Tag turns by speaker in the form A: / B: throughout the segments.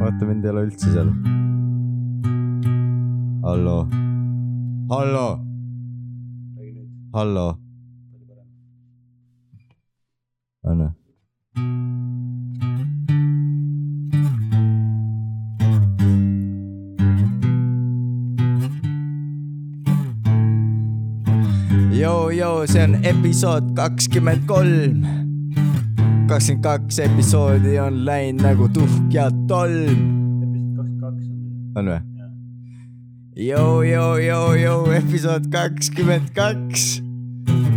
A: vaata mind ei ole üldse seal . hallo , hallo , hallo , anna . joo , joo , see on episood kakskümmend kolm . kakskümmend kaks episoodi on läinud nagu tuhk ja tolm . on või ? joo , joo , joo , joo , episood kakskümmend kaks .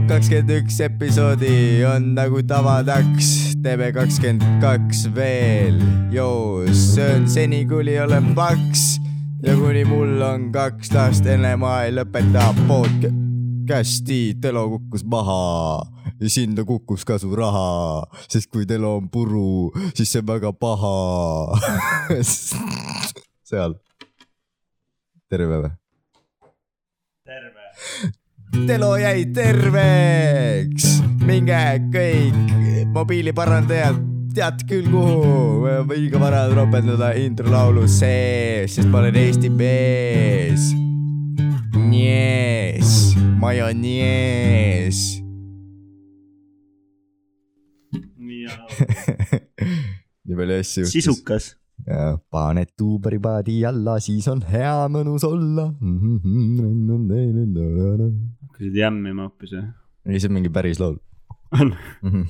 A: kakskümmend üks episoodi on nagu tavataks , teeme kakskümmend kaks veel . joo , söön seni , kuni olen paks ja kuni mul on kaks last , enne ma ei lõpeta pood kästi , Telo kukkus maha ja sinna kukkus ka su raha , sest kui Telo on puru , siis see on väga paha . seal . terve või ?
B: terve .
A: Telo jäi terveks , minge kõik mobiiliparandajad , tead küll kuhu , liiga vara ropendada introlaulu sees , sest ma olen Eesti mees . Njees , ma ei ole njees .
B: nii ja
A: nii palju asju ..
B: sisukas .
A: paned tuubari paadi alla , siis on hea mõnus olla . ei ,
B: hakkasid jämmima hoopis või ?
A: see on mingi päris laul . Mhm.
B: on ,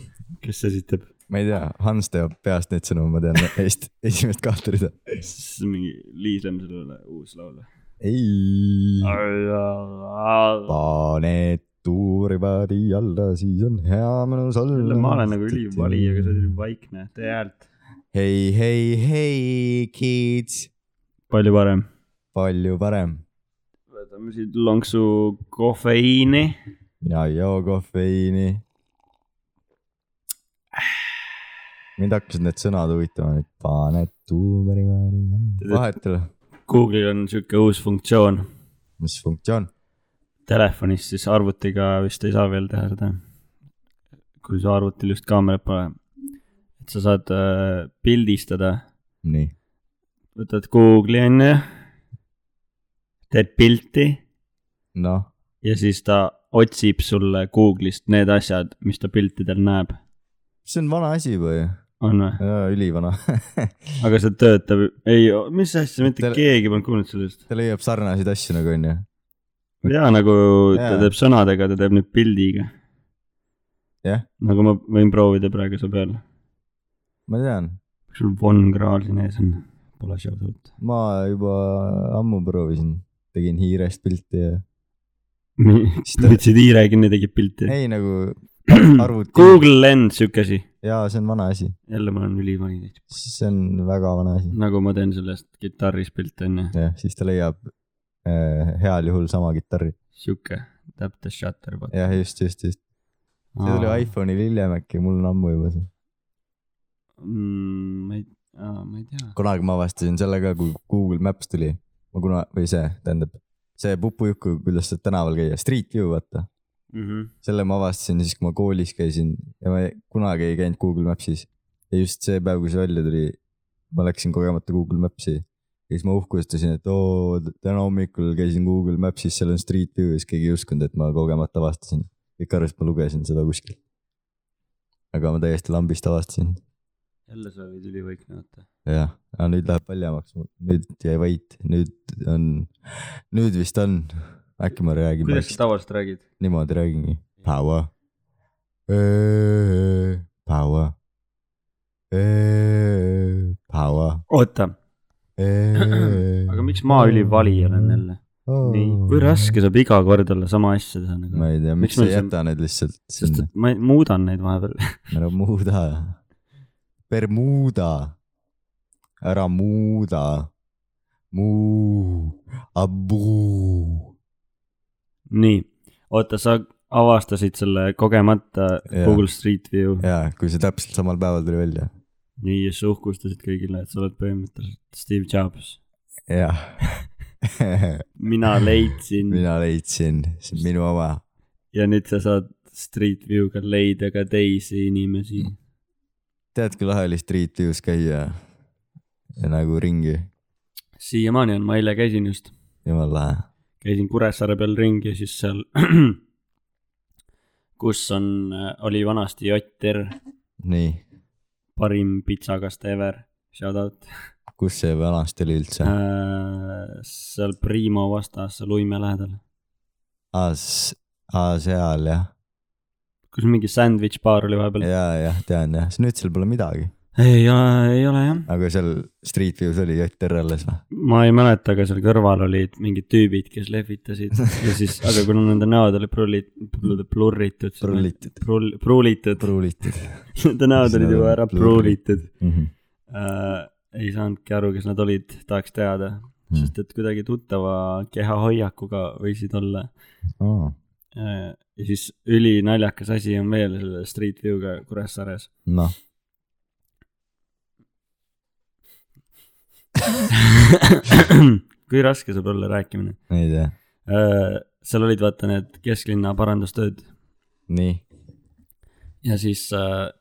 B: kes esitab ?
A: ma ei tea , Hans teab peast neid sõnu , ma tean eest, esimest kahte rida .
B: siis on mingi Liis Lemsalule uus laul
A: ei ,
B: või ?
A: paned tuuripaadi alla , siis on hea mõnus olla .
B: ma olen nagu ülivali , aga sa oled nii vaikne , tee häält .
A: hei , hei , hei , kids ,
B: palju parem .
A: palju parem .
B: võtame siit lonksu kofeiini .
A: mina ei joo kohveini . mind hakkasid need sõnad huvitama , et paned tuuripaadi alla . vahetele ,
B: Google'il on sihuke uus funktsioon
A: mis funktsioon ?
B: telefonis , siis arvutiga vist ei saa veel teha seda . kui su arvutil just kaamerat pole . et sa saad äh, pildistada
A: nii ,
B: võtad Google'i onju , teed pilti
A: noh ,
B: ja siis ta otsib sulle Google'ist need asjad , mis ta piltidel näeb ,
A: see on vana asi või ?
B: on või ?
A: ülivana
B: aga see töötab , ei , mis asja , mitte
A: Tel-
B: keegi polnud kuulnud sellest .
A: ta leiab sarnaseid asju nagu onju .
B: ja nagu ta
A: Jaa.
B: teeb sõnadega , ta teeb nüüd pildiga .
A: Jah.
B: nagu ma võin proovida praegu su peal ,
A: ma tean ,
B: kas sul Von Krahl siin ees on ? Pole shout out .
A: ma juba ammu proovisin , tegin hiirest pilti ja Siis ta-
B: võtsid hiire kinni , tegid pilti .
A: ei nagu arvuti
B: Google Lens , sihuke asi .
A: ja see on vana asi ,
B: jälle ma olen ülivani täitsa .
A: see on väga vana asi ,
B: nagu ma teen sellest kitarris pilte onju ,
A: jah , siis ta leiab äh, heal juhul sama kitarri ,
B: sihuke täpne shutterbox .
A: jah , just , just , just , see tuli . iPhone'il hiljem äkki , mul on ammu juba see .
B: Mm, ma ei , ma ei tea .
A: kunagi ma avastasin selle ka , kui Google Maps tuli , ma kuna , või see , tähendab , see pupujuku , kuidas saad tänaval käia , Street View , vaata , selle ma avastasin siis , kui ma koolis käisin ja ma ei- kunagi ei käinud Google Maps'is . ja just see päev , kui see välja tuli , ma läksin kogemata Google Maps'i ja siis ma uhkustasin , et oo , täna hommikul käisin Google Maps'is , seal on Street View ja siis keegi ei uskunud , et ma kogemata avastasin . kõik arvasid , et ma lugesin seda kuskil . aga ma täiesti lambist avastasin ,
B: jälle sa olid ülivaikne , oota .
A: jah . aga nüüd läheb paljemaks , nüüd jäi vait , nüüd on , nüüd vist on , äkki ma räägin .
B: kuidas sa tavaliselt räägid ?
A: niimoodi räägingi . Power . Power . Power .
B: oota , aga miks ma ülivali olen jälle ?
A: nii
B: kui ? raske saab iga kord olla sama asja teha nagu
A: ma ? ei tea , miks
B: Miks
A: sa
B: meil
A: ei
B: see-
A: jäta need lihtsalt
B: sest
A: sinna ,
B: et ma ei- muudan neid vahepeal .
A: ära muuda . Bermuda . ära muuda . Muu , abuu .
B: nii , oota , sa avastasid selle kogemata
A: Jaa.
B: Google Street View .
A: jaa , kui see täpselt samal päeval tuli välja .
B: nii , ja sa uhkustasid kõigile , et sa oled põhimõtteliselt Steve Jobs .
A: jah .
B: mina leidsin
A: mina leidsin , see on minu oma
B: ja nüüd sa saad Street View'ga leida ka teisi inimesi .
A: tead , kui lahe oli Street View's käia ja nagu ringi ,
B: siiamaani on , ma eile käisin just ,
A: jumala lahe .
B: käisin Kuressaare peal ringi , siis seal , kus on , oli vanasti Jotter ,
A: nii ,
B: parim pitsakast ever , shout out
A: kus see vanasti oli üldse ?
B: äh, . seal Primo vastas , seal Uime lähedal ,
A: aa , seal jah ,
B: kus mingi sandwich baar oli vahepeal .
A: ja , jah , tean jah , nüüd seal pole midagi ,
B: ei ole , ei ole jah ,
A: aga seal Street View's oli Jotter alles või ?
B: ma ei mäleta , aga seal kõrval olid mingid tüübid , kes lehvitasid ja siis , aga kuna nende näod olid prulli- , plurritud .
A: Prullitud. .
B: Prull , pruulitud ,
A: pruulitud
B: nende näod olid juba ära pruulitud
A: mm . -hmm.
B: äh, . ei saanudki aru , kes nad olid , tahaks teada ,
A: Mm.
B: sest et kuidagi tuttava kehahoiakuga võisid olla
A: Oh,
B: Äh, ja siis ülinaljakas asi on veel selle Street View'ga Kuressaares .
A: noh ,
B: kui raske saab olla rääkimine
A: ei tea ,
B: äh, ? seal olid vaata need kesklinna parandustööd
A: nii ,
B: ja siis äh, ,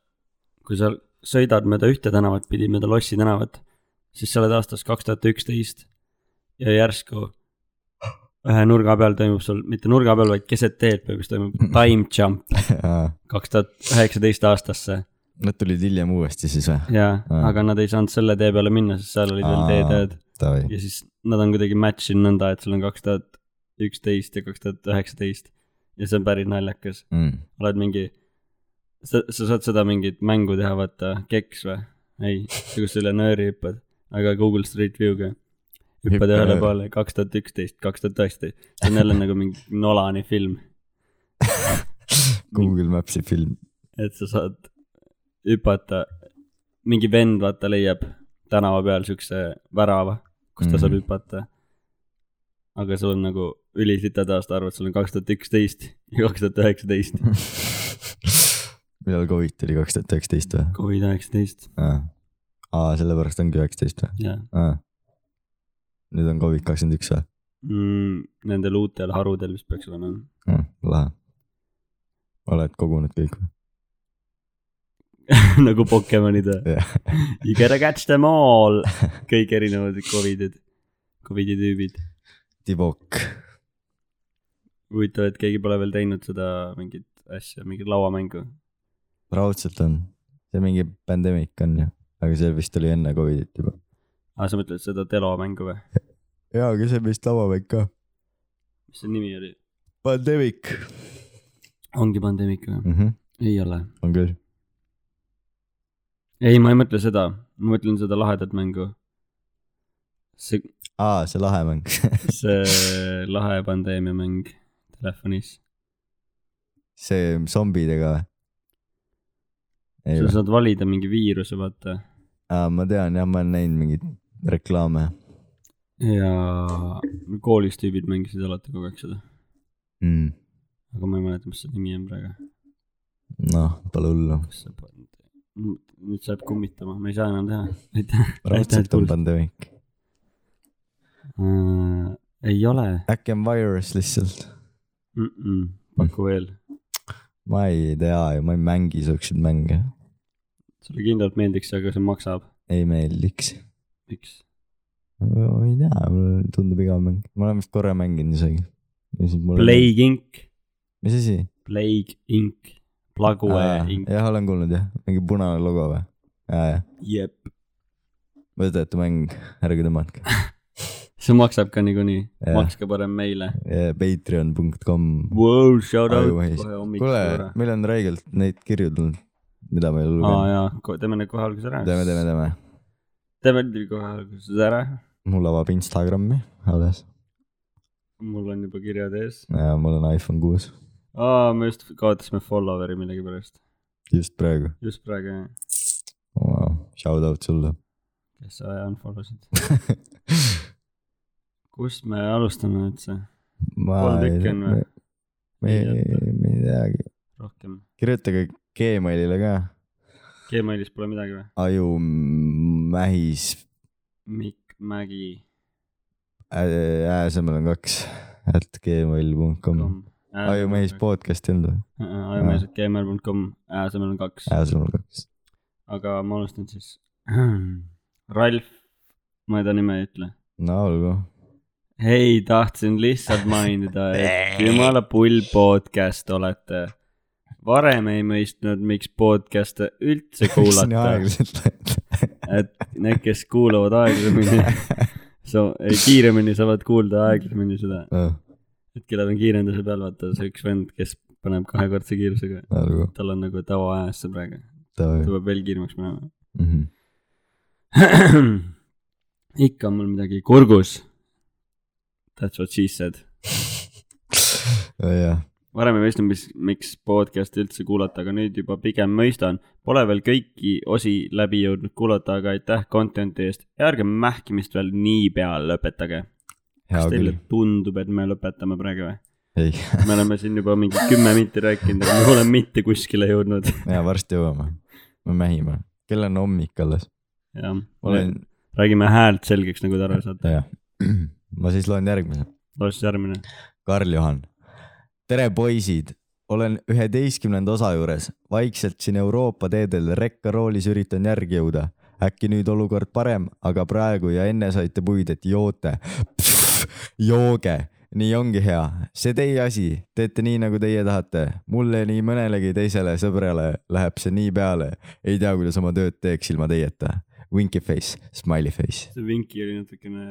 B: kui sa sõidad mööda ühte tänavat pidi , mööda Lossi tänavat , siis sa oled aastas kaks tuhat üksteist ja järsku ühe nurga peal toimub sul , mitte nurga peal , vaid keset teed põhimõtteliselt toimub time jump kaks tuhat üheksateist aastasse
A: nad tulid hiljem uuesti siis või ?
B: jaa
A: Aa. ,
B: aga nad ei saanud selle tee peale minna , sest seal olid veel
A: Aa.
B: teetäed
A: Davai ,
B: ja siis nad on kuidagi match inud nõnda , et sul on kaks tuhat üksteist ja kaks tuhat üheksateist ja see on päris naljakas ,
A: Mm.
B: oled mingi , sa , sa saad seda mingit mängu teha , vaata , keks või ? ei , kus sa üle nööri hüppad , aga Google Street View'ga hüppad
A: Hüppa
B: ühele
A: nööri.
B: poole kaks tuhat üksteist , kaks tuhat üheksateist , see on jälle nagu mingi Nolani film ,
A: Google Maps'i film ,
B: et sa saad hüpata , mingi vend , vaata , leiab tänava peal siukse värava kus ta saab
A: Mhm.
B: hüpata . aga sul on nagu ülisitad aasta arvad , sul on kaks tuhat üksteist ja kaks tuhat üheksateist .
A: millal Covid oli , kaks tuhat üheksateist või ?
B: Covid üheksateist ,
A: aa , sellepärast ongi üheksateist või ?
B: jah
A: aa . nüüd on Covid kakskümmend üks või ?
B: mm, . Nendel uutel harudel vist peaks olema .
A: lahe . oled kogunud kõik või ?
B: nagu Pokemonid või
A: Jah. ?
B: You gotta catch them all . kõik erinevad Covidid , Covidi tüübid .
A: Tibok .
B: huvitav , et keegi pole veel teinud seda mingit asja , mingit lauamängu .
A: raudselt on , see mingi pandeemik on ju , aga see vist oli enne Covidit juba .
B: aa , Ah, sa mõtled seda Telo mängu või ?
A: jaa , aga see on vist lauamäng ka .
B: mis see nimi oli ?
A: pandeemik
B: ongi Pandemic või ?
A: mm . -hmm.
B: ei ole
A: on küll .
B: ei , ma ei mõtle seda , ma mõtlen seda lahedat mängu . see ,
A: aa , see lahe mäng .
B: see lahe pandeemia mäng telefonis .
A: see zombidega või ? ei
B: sa
A: või ?
B: saad valida mingi viiruse , vaata .
A: aa , ma tean jah , ma olen näinud mingeid reklaame
B: ja koolis tüübid mängisid alati kogu aeg seda ,
A: mm. .
B: aga ma ei mäleta , mis see nimi on praegu .
A: noh , pole hullu .
B: kas see pand- , nüüd sa jääd kummitama , ma ei saa enam teha . aitäh .
A: raudselt on pandeemik .
B: Äh, ei ole
A: äkki on virus lihtsalt ?
B: mm . -mm. paku veel ,
A: ma ei tea ju , ma ei mängi siukseid mänge .
B: sulle kindlalt meeldiks see , aga see maksab .
A: ei meeldiks .
B: miks ?
A: ma ei tea , mulle tundub igav mäng . ma olen vist korra mänginud isegi .
B: Plague Inc ,
A: mis asi ?
B: Plague Inc , Plague Inc ,
A: jah , olen kuulnud jah , mingi punane logo või ? ja , ja ,
B: jep .
A: võtete mäng , ärge tõmmake .
B: see maksab ka niikuinii
A: Jah. ,
B: makske parem meile .
A: Patreon.com .
B: Wow, shout out
A: Aju ees.
B: kohe
A: kuule
B: hommikul ,
A: meil on räigelt neid kirju tulnud , mida ma ei ole
B: aa
A: lugenud .
B: jaa , teeme need kohe alguses ära .
A: teeme , teeme , teeme .
B: teeme need kohe alguses ära ,
A: mul avab Instagrami alles
B: mul on juba kirjad ees .
A: ja mul on iPhone kuus
B: aa , me just kaotasime follower'i millegipärast ,
A: just praegu
B: just praegu jah ,
A: wow. . Shout out sulle .
B: kes sa unfollow sid . kust me alustame üldse ,
A: ma
B: kolm
A: ei
B: tükki on või ?
A: me ei , me ei teagi .
B: rohkem ,
A: kirjutage Gmailile ka
B: Gmailis pole midagi või ?
A: ajumähis
B: Mikk Mägi
A: äh, , ääsemel on kaks , at gmail.com .
B: kom .
A: ajumähis . podcast ei olnud või ?
B: ajumees , et gmail.com , asemel on kaks
A: ääsemel on kaks .
B: aga ma alustan siis . Ralf ma ta nime ei ütle .
A: no olgu .
B: ei , tahtsin lihtsalt mainida , et jumala pull podcast olete . varem ei mõistnud , miks podcast'e üldse kuulata ,
A: aeglaselt läinud .
B: et need , kes kuulavad aeglamini , so- , kiiremini saavad kuulda aeglamini seda , et kellel on kiirenduse peal , vaata see üks vend , kes paneb kahekordse kiirusega ,
A: olgu ,
B: tal on nagu tavaajasse praegu , ta
A: davai . Mhm.
B: peab veel kiiremaks minema . ikka on mul midagi kurgus . That's what she said .
A: jah ,
B: varem ei mõistnud , mis , miks podcast'i üldse kuulata , aga nüüd juba pigem mõistan . Pole veel kõiki osi läbi jõudnud kuulata , aga aitäh content'i eest ja ärge mähkimist veel niipea lõpetage .
A: hea
B: kas teile
A: küll .
B: tundub , et me lõpetame praegu või ?
A: ei ,
B: me oleme siin juba mingi kümme minti rääkinud , aga me pole mitte kuskile jõudnud .
A: ja varsti jõuame . me mähime . kell on hommik alles .
B: jah ,
A: olen ,
B: räägime häält selgeks , nagu te aru saate .
A: jah . ma siis loen järgmise .
B: loes järgmine .
A: Karl-Juhan . tere , poisid . olen üheteistkümnenda osa juures , vaikselt siin Euroopa teedel rekkaroolis üritan järgi jõuda . äkki nüüd olukord parem , aga praegu ja enne saite puid , et joote . jooge , nii ongi hea , see teie asi , teete nii , nagu teie tahate . mulle ja nii mõnelegi teisele sõbrale läheb see nii peale . ei tea , kuidas oma tööd teeks ilma teieta . Winky face , smiley face .
B: see Vinki oli natukene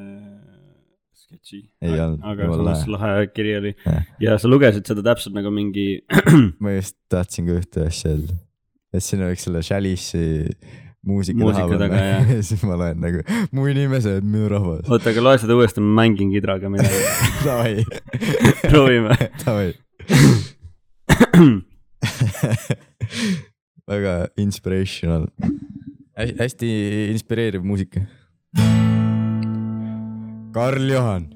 B: sketši .
A: Ei olnud,
B: aga
A: jumala
B: samas lahe kiri oli
A: Jah. .
B: ja sa lugesid seda täpselt nagu mingi
A: ma just tahtsin ka ühte asja öelda , et sinna võiks selle Chalice'i muusika,
B: Muusika
A: taha
B: taga, jah.
A: ja siis ma loen nagu mu inimesed , minu rahvas .
B: oota , aga loe seda uuesti , ma mängin kidraga midagi ,
A: Davai ,
B: proovime .
A: davai . väga inspirational Hä . hästi inspireeriv muusika . Karl-Johan .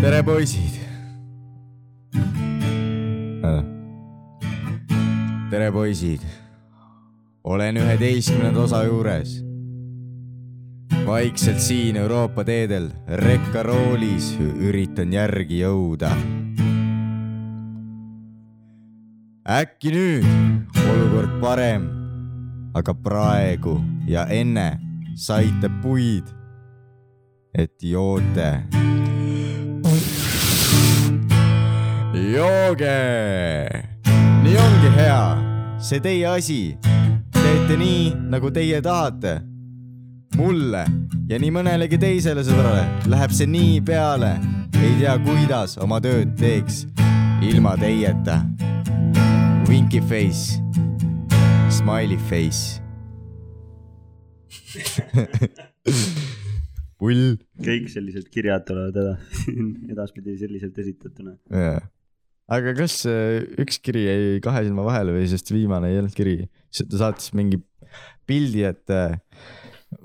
A: tere , poisid äh. . tere , poisid . olen üheteistkümnenda osa juures . vaikselt siin Euroopa teedel rekkaroolis üritan järgi jõuda . äkki nüüd olukord parem , aga praegu ja enne saite puid , et joote . jooge , nii ongi hea , see teie asi , teete nii , nagu teie tahate mulle ja nii mõnelegi teisele sõbrale läheb see nii peale . ei tea , kuidas oma tööd teeks ilma teieta . Winky face , smiley face . pull .
B: kõik sellised kirjad tulevad edasi , edaspidi selliselt esitatuna .
A: aga kas äh, üks kiri jäi kahe silma vahele või sest viimane ei olnud kiri , siis ta saatis mingi pildi , et äh,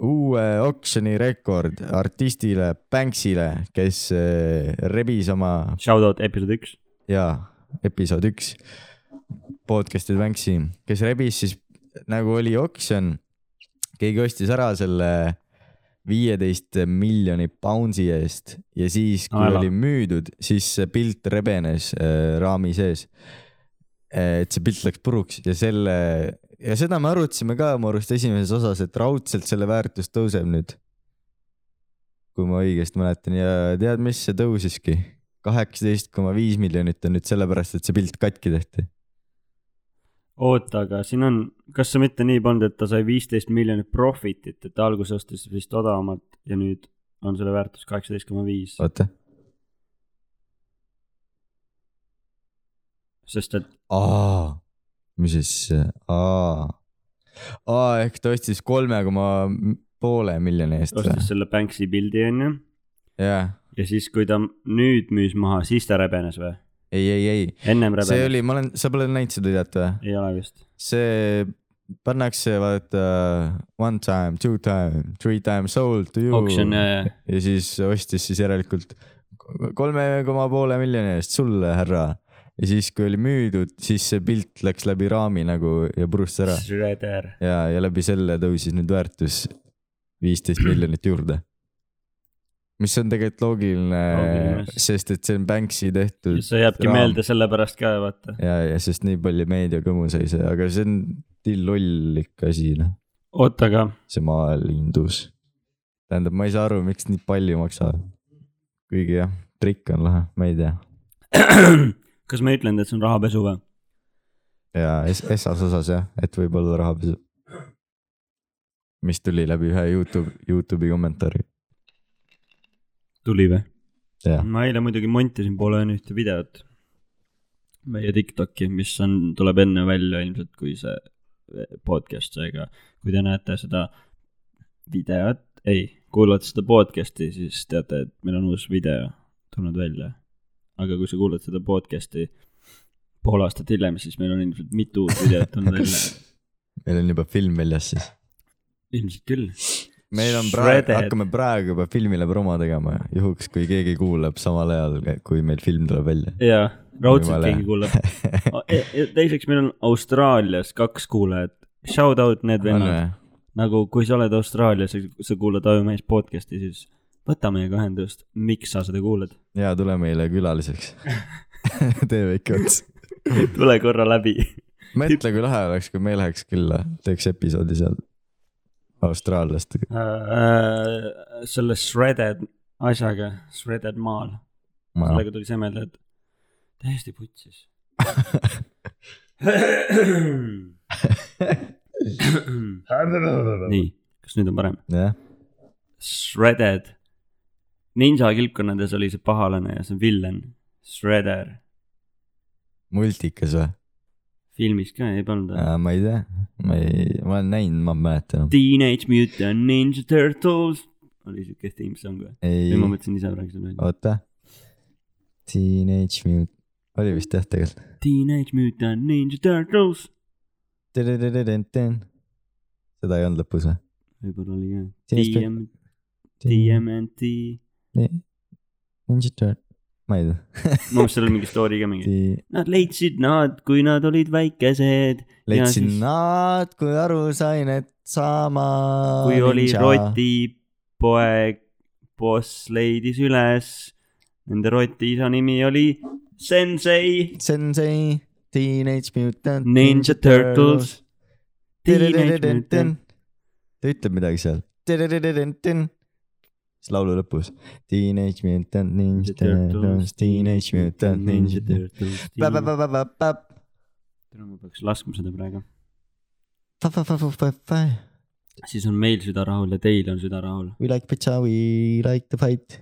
A: uue oksjoni rekord artistile Banksile , kes äh, rebis oma
B: Shout out episood üks .
A: ja episood üks podcast'i Banks'i , kes rebis siis nagu oli oksjon , keegi ostis ära selle viieteist miljoni poundsi eest ja siis , kui
B: Naela.
A: oli müüdud , siis see pilt rebenes äh, raami sees . et see pilt läks puruks ja selle ja seda me arutasime ka mu arust esimeses osas , et raudselt selle väärtus tõuseb nüüd . kui ma õigesti mäletan ja tead , mis see tõusiski ? kaheksateist koma viis miljonit on nüüd sellepärast , et see pilt katki tehti .
B: oota , aga siin on , kas see mitte nii polnud , et ta sai viisteist miljonit profit'it , et ta alguses ostis vist odavamalt ja nüüd on selle väärtus kaheksateist koma viis ,
A: oota .
B: sest et
A: aa , mis siis , aa . aa , ehk ta ostis kolme koma poole miljoni eest või ?
B: ostis selle Banksy pildi onju
A: jah ,
B: ja siis , kui ta nüüd müüs maha , siis ta rebenes või ?
A: ei , ei , ei ,
B: ennem
A: see
B: rebenes ?
A: oli , ma olen , sa pole näinud seda videot või ?
B: ei ole vist .
A: see pannakse vaata one time , two time , three time sold to you .
B: Auction äh, ja , ja ,
A: ja siis ostis siis järelikult kolme koma poole miljoni eest sulle , härra . ja siis , kui oli müüdud , siis see pilt läks läbi raami nagu ja purustas ära
B: Schröder .
A: ja , ja läbi selle tõusis nüüd väärtus viisteist miljonit juurde . mis on tegelikult loogiline
B: Loogiline, , sest-
A: sest et see on Banksy tehtud
B: see jääbki
A: raam.
B: meelde sellepärast ka , vaata .
A: ja , ja sest nii palju meediakõmu sai see , aga see on nii lollik asi , noh ,
B: oota , aga
A: see maaelindus . tähendab , ma ei saa aru , miks nii palju maksab . kuigi jah , trikk on lahe , ma ei tea .
B: kas ma ütlen , et see on rahapesu või ?
A: ja es- esmas osas jah , et võib-olla rahapesu . mis tuli läbi ühe Youtube , Youtube'i kommentaari ,
B: tuli või ?
A: jah .
B: ma eile muidugi montisin poole ööni ühte videot meie Tiktoki , mis on , tuleb enne välja ilmselt , kui see eh, podcast , seega kui te näete seda videot , ei , kuulate seda podcast'i , siis teate , et meil on uus video tulnud välja . aga kui sa kuulad seda podcast'i pool aastat hiljem , siis meil on ilmselt mitu uut videot tulnud välja .
A: meil on juba film väljas siis .
B: ilmselt küll .
A: meil on praegu ,
B: Shredded.
A: hakkame praegu juba filmile promo tegema , juhuks kui keegi kuulab samal ajal , kui meil film tuleb välja .
B: jaa , raudselt
A: Jumala hea.
B: keegi kuulab . teiseks , meil on Austraalias kaks kuulajat . Shout out need
A: on
B: vennad .
A: või ?
B: nagu kui sa oled Austraalias ja sa kuulad Ajumees podcast'i , siis võta meiega ühendust , miks sa seda kuulad .
A: ja tule meile külaliseks . tee väike ots .
B: tule korra läbi .
A: mõtle , kui lahe oleks , kui me läheks külla , teeks episoodi seal austraallastega .
B: Äh, selle shredded asjaga , shredded maal , sellega tuli see meelde , et täiesti putsis . nii , kas nüüd on parem ?
A: jah ,
B: Shredded . ninja kilpkonnades oli see pahalane ja see on villen , Shredder .
A: multikas või ?
B: filmis ka ei pannud või ?
A: ma ei tea , ma ei , ma olen näinud , ma mäletan .
B: Teenage Mutant Ninja Turtles oli siuke theme song või ?
A: ei
B: või , ma mõtlesin ise praegu selle välja .
A: oota . Teenage Mutant , oli vist jah tegelikult .
B: Teenage Mutant Ninja Turtles .
A: seda ei olnud lõpus või ?
B: võib-olla oli jah .
A: Teenage
B: TM , TMNT .
A: Ninja Turtle , ma ei tea .
B: mu meelest seal oli mingi story ka mingi . Nad leidsid nad , kui nad olid väikesed ,
A: leidsin
B: siis-
A: nad , kui aru sain , et sama .
B: kui
A: Ah,
B: oli . rotipoeg , boss leidis üles . Nende roti isa nimi oli Sensei
A: Sensei , Teenage Mutant
B: Ninja Turtles . Teenage Mutant .
A: ta ütleb midagi seal . siis laulu lõpus . Teenage Mutant Ninja Turtles , Teenage Mutant Ninja Turtles .
B: Turtles . ma peaks laskma seda praegu . siis on meil süda rahul ja teil on süda rahul .
A: We like pizza , we like the fight .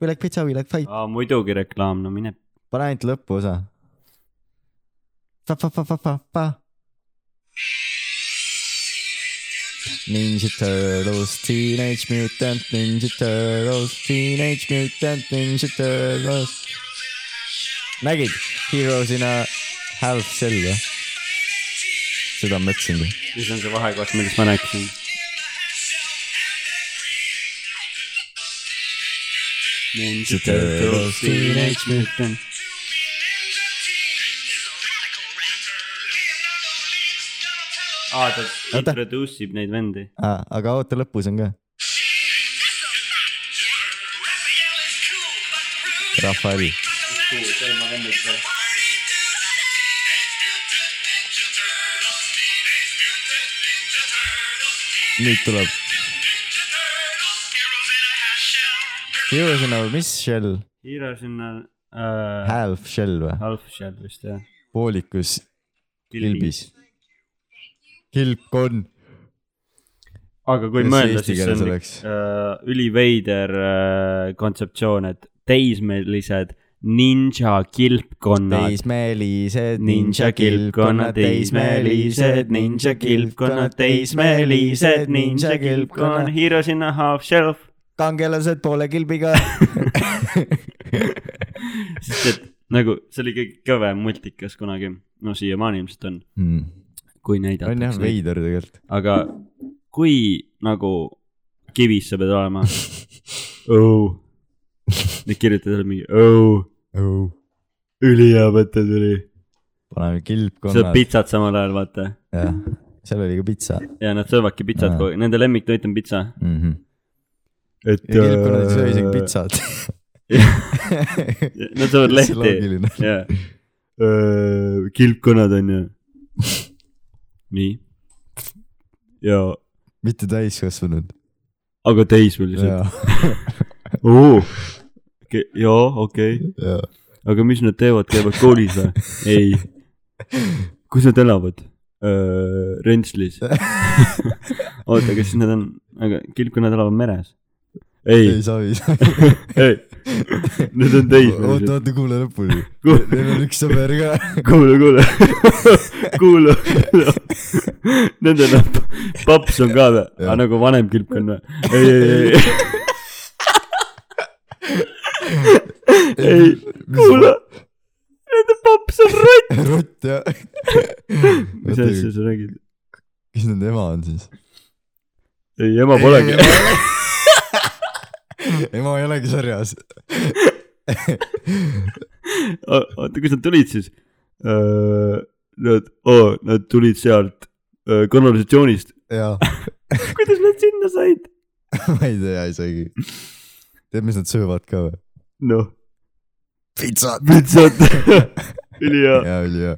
A: We like pizza , we like fight .
B: muidugi reklaam , no mine .
A: pane ainult lõpuosa . Ninja Turtles , Teenage Mutant Ninja Turtles , Teenage Mutant Ninja Turtles . nägid , Heroes in a half shell või ? seda ma mõtlesingi .
B: siis on see vahekoht , millest ma rääkisin . Ninja Turtles , Teenage Mutant . aa , ta
A: Oota.
B: introduce ib neid vendi .
A: Ah, aga oota , lõpus on ka . Rafael , nüüd tuleb . Heroes in a mis shell ?
B: Hiiro sinna äh, ,
A: Half shell või ?
B: Half Shell vist jah .
A: poolikus kilbis . kilpkonn .
B: aga
A: Kuidas
B: kui
A: see
B: mõelda ,
A: eesti
B: siis see
A: keeles
B: on
A: oleks?
B: äh, üliveider äh, kontseptsioon , et teismelised ninja kilpkonnad .
A: teismelised
B: ninja kilpkonnad , teismelised ninja kilpkonnad , teismelised ninja kilpkonnad ,. Hiiro sinna half shelf .
A: kangelased poole kilbiga
B: sest et nagu see oli kõige kõvem multikas kunagi , no siiamaani ilmselt on ,
A: mm. .
B: kui
A: on jah
B: näidatakse ,
A: veider tegelikult .
B: aga kui nagu kivis sa pead olema . õu , nüüd kirjutad jälle mingi "Oh." õu , ülihea mõte tuli .
A: Oh. paneme
B: sööd
A: kilpkonnad ,
B: pitsat samal ajal , vaata .
A: jah . seal oli ka pitsa
B: ja nad söövadki pitsat
A: Aa.
B: kogu aeg , nende lemmiktoit on pitsa .
A: mm . -hmm.
B: et . äh,
A: ja kilpkonnad ei söö isegi . pitsat .
B: Nad söövad lehti ,
A: loogiline .
B: jaa . kilpkonnad on ju . nii , ja ,
A: mitte täiskasvanud .
B: aga teismelised .
A: jaa ,
B: joo , okei okay. ,
A: jaa .
B: aga mis nad teevad , käivad koolis või ? ei . kus nad elavad ? Rentslis . oota , kas siis nad on , aga kilku nad elavad meres ? ei
A: ei , saa , ei saa .
B: ei , need
A: oota ,
B: on teismelised .
A: oota , kuula lõpuni .
B: kuule ,
A: Neil on üks sõber ka .
B: kuule , kuule , kuule . Nendel on pa- paps on ka või ?
A: Jah.
B: aga nagu vanem kilp on või ? ei , ei , ei , ei , kuule . Nende paps on rott .
A: rott ja .
B: mis asja sa räägid ?
A: kes nende ema on siis ?
B: ei , ema polegi .
A: ema ei olegi sarjas .
B: Ah, oota , kust nad tulid siis ? Nad , nad tulid sealt öö, kanalisatsioonist .
A: jaa ,
B: kuidas nad sinna said ?
A: ma ei tea isegi . tead , mis nad söövad ka või ?
B: noh ,
A: pitsat .
B: pitsat , ülihea .
A: jaa , ülihea .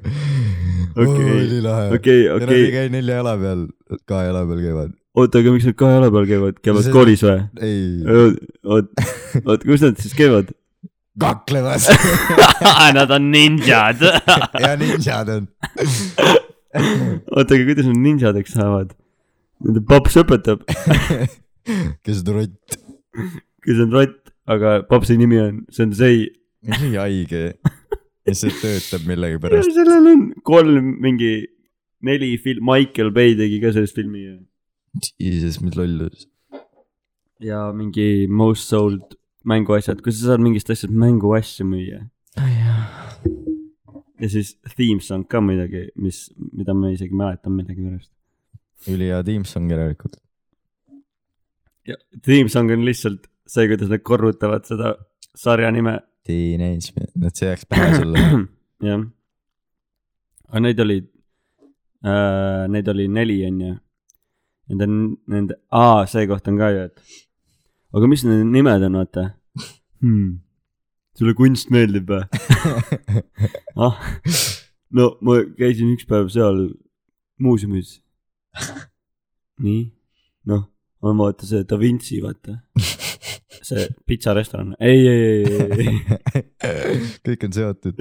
B: Okei.
A: ülilahe .
B: okei ,
A: ja nad ei
B: okei ,
A: käi nelja jala peal , kahe jala peal käivad .
B: oota , aga miks nad kahe jala peal käivad , käivad
A: See-
B: koolis või ?
A: ei ,
B: oot , oot , oot , kus nad siis käivad ?
A: kaklemas
B: Ah, Nad on ninjad .
A: ja ninjad on .
B: oota , aga kuidas nad ninjadeks saavad ? Nende paps õpetab ,
A: kes on rott .
B: kes on rott , aga papsi nimi on Sensei .
A: nii haige . ja see töötab millegipärast .
B: sellel on kolm mingi , neli film , Michael Bay tegi ka sellest filmi ju.
A: Jesus , mis lollus .
B: ja mingi Most Sold mänguasjad , kus sa saad mingist asjast mänguasju müüa . ja siis theme song ka midagi , mis , mida ma isegi mäletan millegipärast .
A: ülihea Teamsong järelikult .
B: Theme song on lihtsalt see , kuidas nad korrutavad seda sarja nime ,
A: Teenage , et see jääks pähe sulle .
B: jah . aga neid oli äh, , neid oli neli , on ju . Nende , nende , aa , see koht on ka ju , et aga mis nende nimed on , vaata hmm. . sulle kunst meeldib või ? ah , no ma käisin üks päev seal muuseumis . nii , noh , on vaata see Da Vinci , vaata . see pitsarestoran , ei , ei , ei , ei , ei ,
A: kõik on seotud ,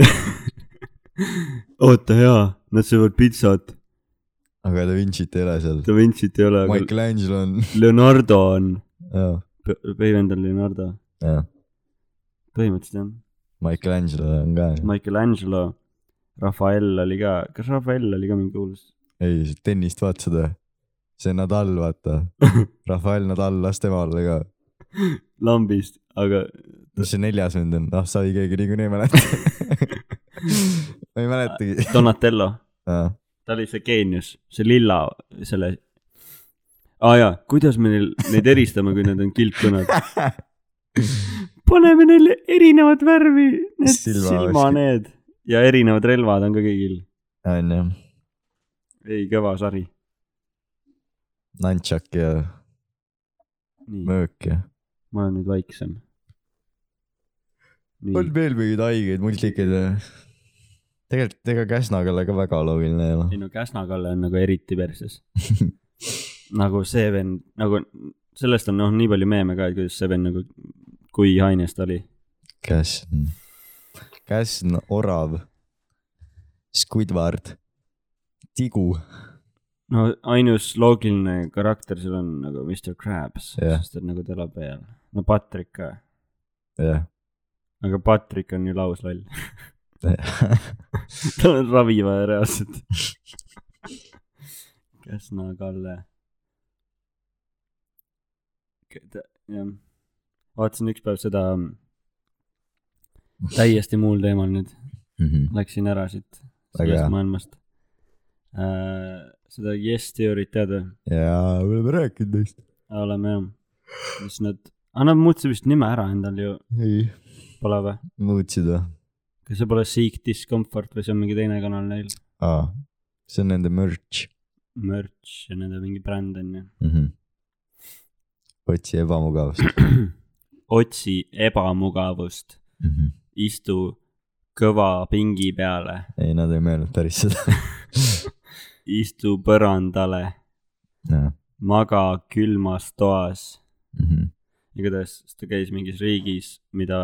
B: oota jaa , nad söövad pitsat ,
A: aga Da Vinci't ei ole seal .
B: Da Vinci't ei ole , aga Mike.
A: Michelangelo on ,
B: Leonardo on ,
A: jaa ,
B: põhimõtteliselt on Leonardo ,
A: jaa ,
B: põhimõtteliselt jah ,
A: Michelangelo on ka .
B: Michelangelo , Rafael oli ka , kas Rafael oli ka mingi kuulus ?
A: ei , tennist vaata seda . see Nadal , vaata . Rafael Nadal , las tema olla ka .
B: lambist , aga
A: mis see neljas vend on ? ah , sai keegi niikuinii ei mäleta . ma ei mäletagi .
B: Donatello , ta oli see geenius , see lilla , selle . aa ah, jaa , kuidas me neil , neid eristame , kui nad on kilpkõned ? paneme neile erinevat värvi , need
A: Silma-
B: silma need ja erinevad relvad on ka kõigil .
A: on jah ,
B: ei , kõva sari .
A: Nunchuck ja
B: nii ,
A: Möök ja .
B: ma olen nüüd vaiksem .
A: on
B: nii ,
A: veel mingeid haigeid multikeid või ? tegelikult ega Käsna-Kalle ka väga loogiline ei ole .
B: ei no Käsna-Kalle on nagu eriti perses . nagu see vend , nagu sellest on noh , nii palju meeme ka , et kuidas see vend nagu , kui haines ta oli .
A: Käsn , Käsn , Orav , Squidward , Tigu ,
B: no ainus loogiline karakter seal on nagu Mr Krabs
A: Jah.
B: yeah. , sest et nagu ta elab peal . no Patrick ka ,
A: jah .
B: aga Patrick on ju lausloll , tal on ravi vaja reaalselt . Käsna , Kalle . jah , vaatasin ükspäev seda mm, täiesti muul teemal nüüd ,
A: Mhm.
B: läksin ära siit
A: Väga hea.
B: sellest maailmast äh, . seda Yes Theory't tead või ?
A: ja me oleme rääkinud neist .
B: oleme jah , mis nad , aga nad muutsid vist nime ära endal ju ,
A: ei ,
B: pole või ?
A: muutsid või ?
B: kas see pole Seek Discomfort või see on mingi teine kanal neil ?
A: aa , see on nende merch
B: Merch ja nende mingi bränd on ju .
A: mm . -hmm. otsi ebamugavust
B: otsi ebamugavust ,
A: mm . -hmm.
B: istu kõva pingi peale ,
A: ei , nad ei mõelnud päris seda .
B: istu põrandale ,
A: jah
B: maga külmas toas .
A: mhm. .
B: igatahes ta käis mingis riigis , mida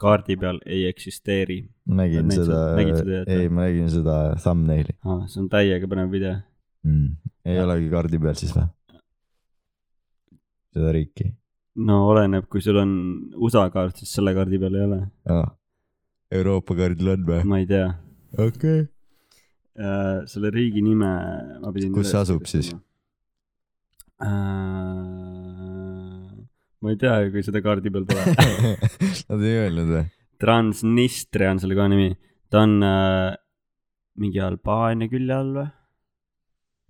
B: kaardi peal ei eksisteeri
A: ma nägin
B: Nägid
A: seda
B: seda- nägid seda, jah? ,
A: ei , ma nägin seda thumbnaili
B: ah, . see on täiega põnev video .
A: mm. . ei
B: Jah.
A: olegi kaardi peal siis või ? seda riiki .
B: no oleneb , kui sul on USA kaart , siis selle kaardi peal ei ole ,
A: Euroopa kaardil on või ?
B: ma ei tea .
A: okei .
B: Äh, selle riigi nime ma pidin .
A: Kus see asub siis? ?
B: ma ei tea , kui seda kaardi peal pole .
A: Nad ei öelnud või ?
B: Transnistria on selle koha nimi , ta on äh, mingi Albaania külje all või ?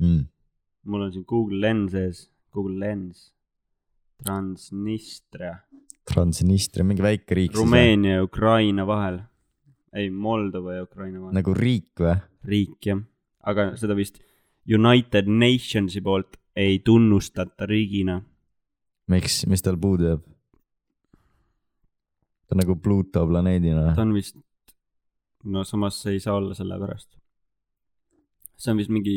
A: Mm.
B: mul on siin Google Lens ees , Google Lens , Transnistria ,
A: Transnistria , mingi väike riik siis
B: Rumeenia ja Ukraina vahel . ei , Moldova ja Ukraina vahel
A: või ? nagu riik või ?
B: riik jah , aga seda vist United Nationsi poolt ei tunnustata riigina .
A: miks , mis tal puudu jääb ? ta on nagu Pluto planeedina
B: ta
A: või ?
B: on vist , no samas see ei saa olla sellepärast . see on vist mingi ,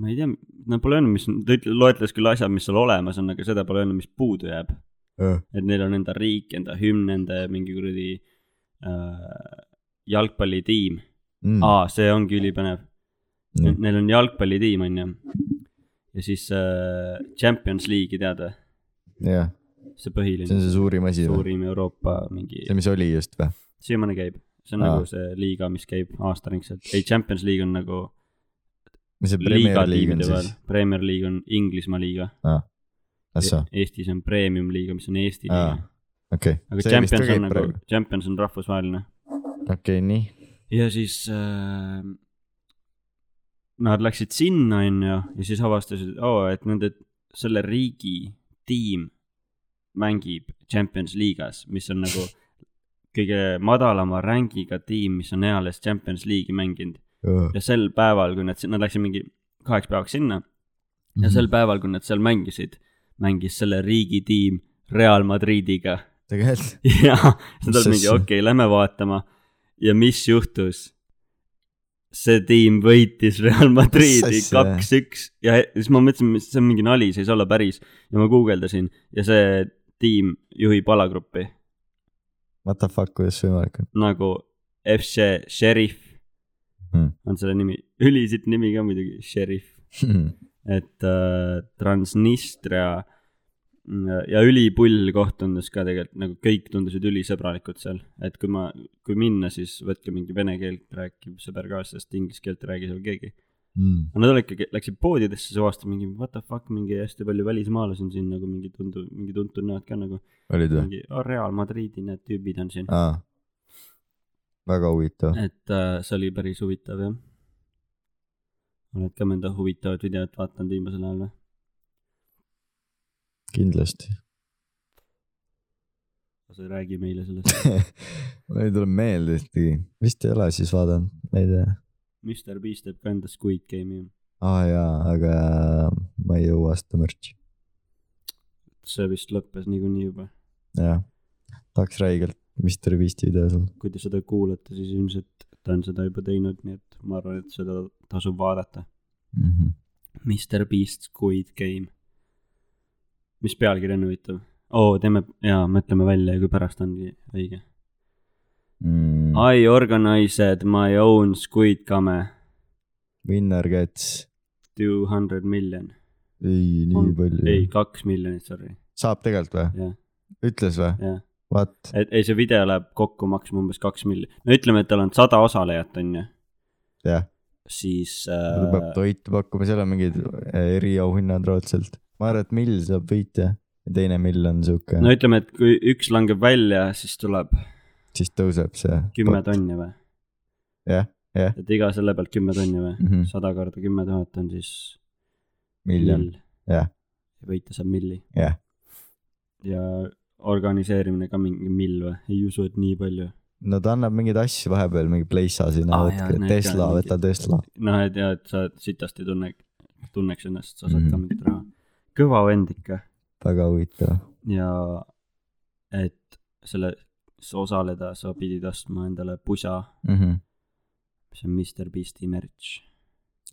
B: ma ei tea , no pole öelnud , mis , ta ütle- , loetles küll asjad , mis seal olemas on , aga seda pole öelnud , mis puudu jääb . et neil on enda riik , enda hümn , enda mingi kuradi äh, jalgpallitiim mm. .
A: Mm.
B: aa , see ongi ülipõnev .
A: Nii.
B: Neil on jalgpallitiim , onju . ja siis äh, Champions League'i tead või ?
A: jah ,
B: see
A: see on
B: põhiline ,
A: see suurim asi või ?
B: suurim Euroopa mingi ,
A: see , mis oli just või ?
B: siiamaani käib . see on
A: Aa.
B: aa. nagu see liiga , mis käib aastaringselt . ei , Champions League on nagu
A: mis see
B: liiga
A: Premier League on
B: tiimide vahel
A: siis ?.
B: Premier League on Inglismaa liiga .
A: ahsoo ,
B: Eestis on Premium liiga , mis on Eesti
A: Aa.
B: liiga .
A: okei .
B: aga Champions on nagu , Champions on rahvusvaheline .
A: okei , nii .
B: ja siis äh, nad läksid sinna , onju , ja siis avastasid oh, , et nende , selle riigi tiim mängib Champions liigas , mis on nagu kõige madalama rank'iga tiim , mis on eales Champions liigi mänginud . ja sel päeval , kui nad , nad läksid mingi kaheks päevaks sinna
A: Mhm.
B: ja sel päeval , kui nad seal mängisid , mängis selle riigi tiim Real Madridiga
A: tegelikult ,
B: jaa ,
A: Mis
B: siis ta oli mingi
A: asja?
B: okei okay, , lähme vaatama . ja mis juhtus ? see tiim võitis Real Madridi
A: Mis asja?
B: kaks-üks ja he- siis ma mõtlesin , mis see on mingi nali , see ei saa olla päris ja ma guugeldasin ja see tiim juhib alagruppi
A: what the fuck , kuidas võimalik on ?
B: nagu FC Sheriff
A: Hmm.
B: on selle nimi , ülisitt nimi ka muidugi , Sheriff et äh, Transnistria mm, ja ülipull koht tundus ka tegelikult nagu kõik tundusid ülisõbralikud seal , et kui ma , kui minna , siis võtke mingi vene keelt rääkiv sõber kaasa , sest inglise keelt ei räägi seal keegi .
A: Mm.
B: aga nad olid ikkagi , läksid poodidesse , siis avastasid mingi what the fuck , mingi hästi palju välismaalasi on siin nagu mingi tuntud , mingi tuntud näod ka nagu .
A: olid või ?
B: mingi "Aa, Real Madridi need tüübid on siin ,
A: aa , väga huvitav .
B: et äh, see oli päris huvitav jah . oled ka mõnda huvitavat videot vaadanud viimasel ajal või ?
A: kindlasti .
B: sa ei räägi meile sellest .
A: mul ei tule meelde ühtegi , vist ei ole siis vaadanud , ma ei tea .
B: Mr Beast teeb ka enda Squid Game'i .
A: aa jaa , aga ma ei jõua osta mürtsi .
B: see vist lõppes niikuinii juba .
A: jah , tahaks räigelt Mr Beast'i video sul .
B: kui te seda kuulate , siis ilmselt ta on seda juba teinud , nii et ma arvan , et seda tasub vaadata .
A: Mhm.
B: Mr Beast Squid Game . mis pealkiri on huvitav ? oo , teeme jaa , mõtleme välja ja kui pärast ongi õige .
A: Mm.
B: I organised my own Squid Game
A: Winner gets ,
B: two hundred million .
A: ei nii
B: ei ,
A: palju .
B: kaks miljonit , sorry ,
A: saab tegelikult või ?
B: jah ,
A: ütles või ?
B: jah .
A: What ?
B: et ei , see video läheb kokku maksma umbes kaks miljonit . no ütleme , et tal on sada osalejat , on ju .
A: Jah. .
B: siis
A: ta peab
B: äh,
A: toitu pakkuma , seal on mingid äh, eriauhinnad raudselt . ma arvan , et mill saab võitja ja teine mill on siuke
B: no , ütleme , et kui üks langeb välja , siis tuleb
A: siis tõuseb see .
B: kümme . tonni või ?
A: Jah, jah. Mm.
B: et iga selle pealt kümme tonni või ? sada korda kümme tuhat on siis
A: Mhm, miljon . jah. .
B: võita saab milli .
A: Jah. .
B: ja organiseerimine ka mingi mill või ? ei usu , et nii palju .
A: no ta annab mingeid asju vahepeal , mingi pleissa sinna
B: Aa,
A: ah, ,
B: jaa,
A: võtke
B: need ka
A: Tesla ,
B: mingid-
A: võta Tesla .
B: noh , et ja , et sa sitasti tunne , tunneks ennast , sa saad
A: Mhm.
B: ka mingit raha . kõva vend ikka
A: väga huvitav .
B: ja et selles osaleda sa pidid ostma endale pusa ,
A: Mm -hmm.
B: mis on Mr Beast'i merch .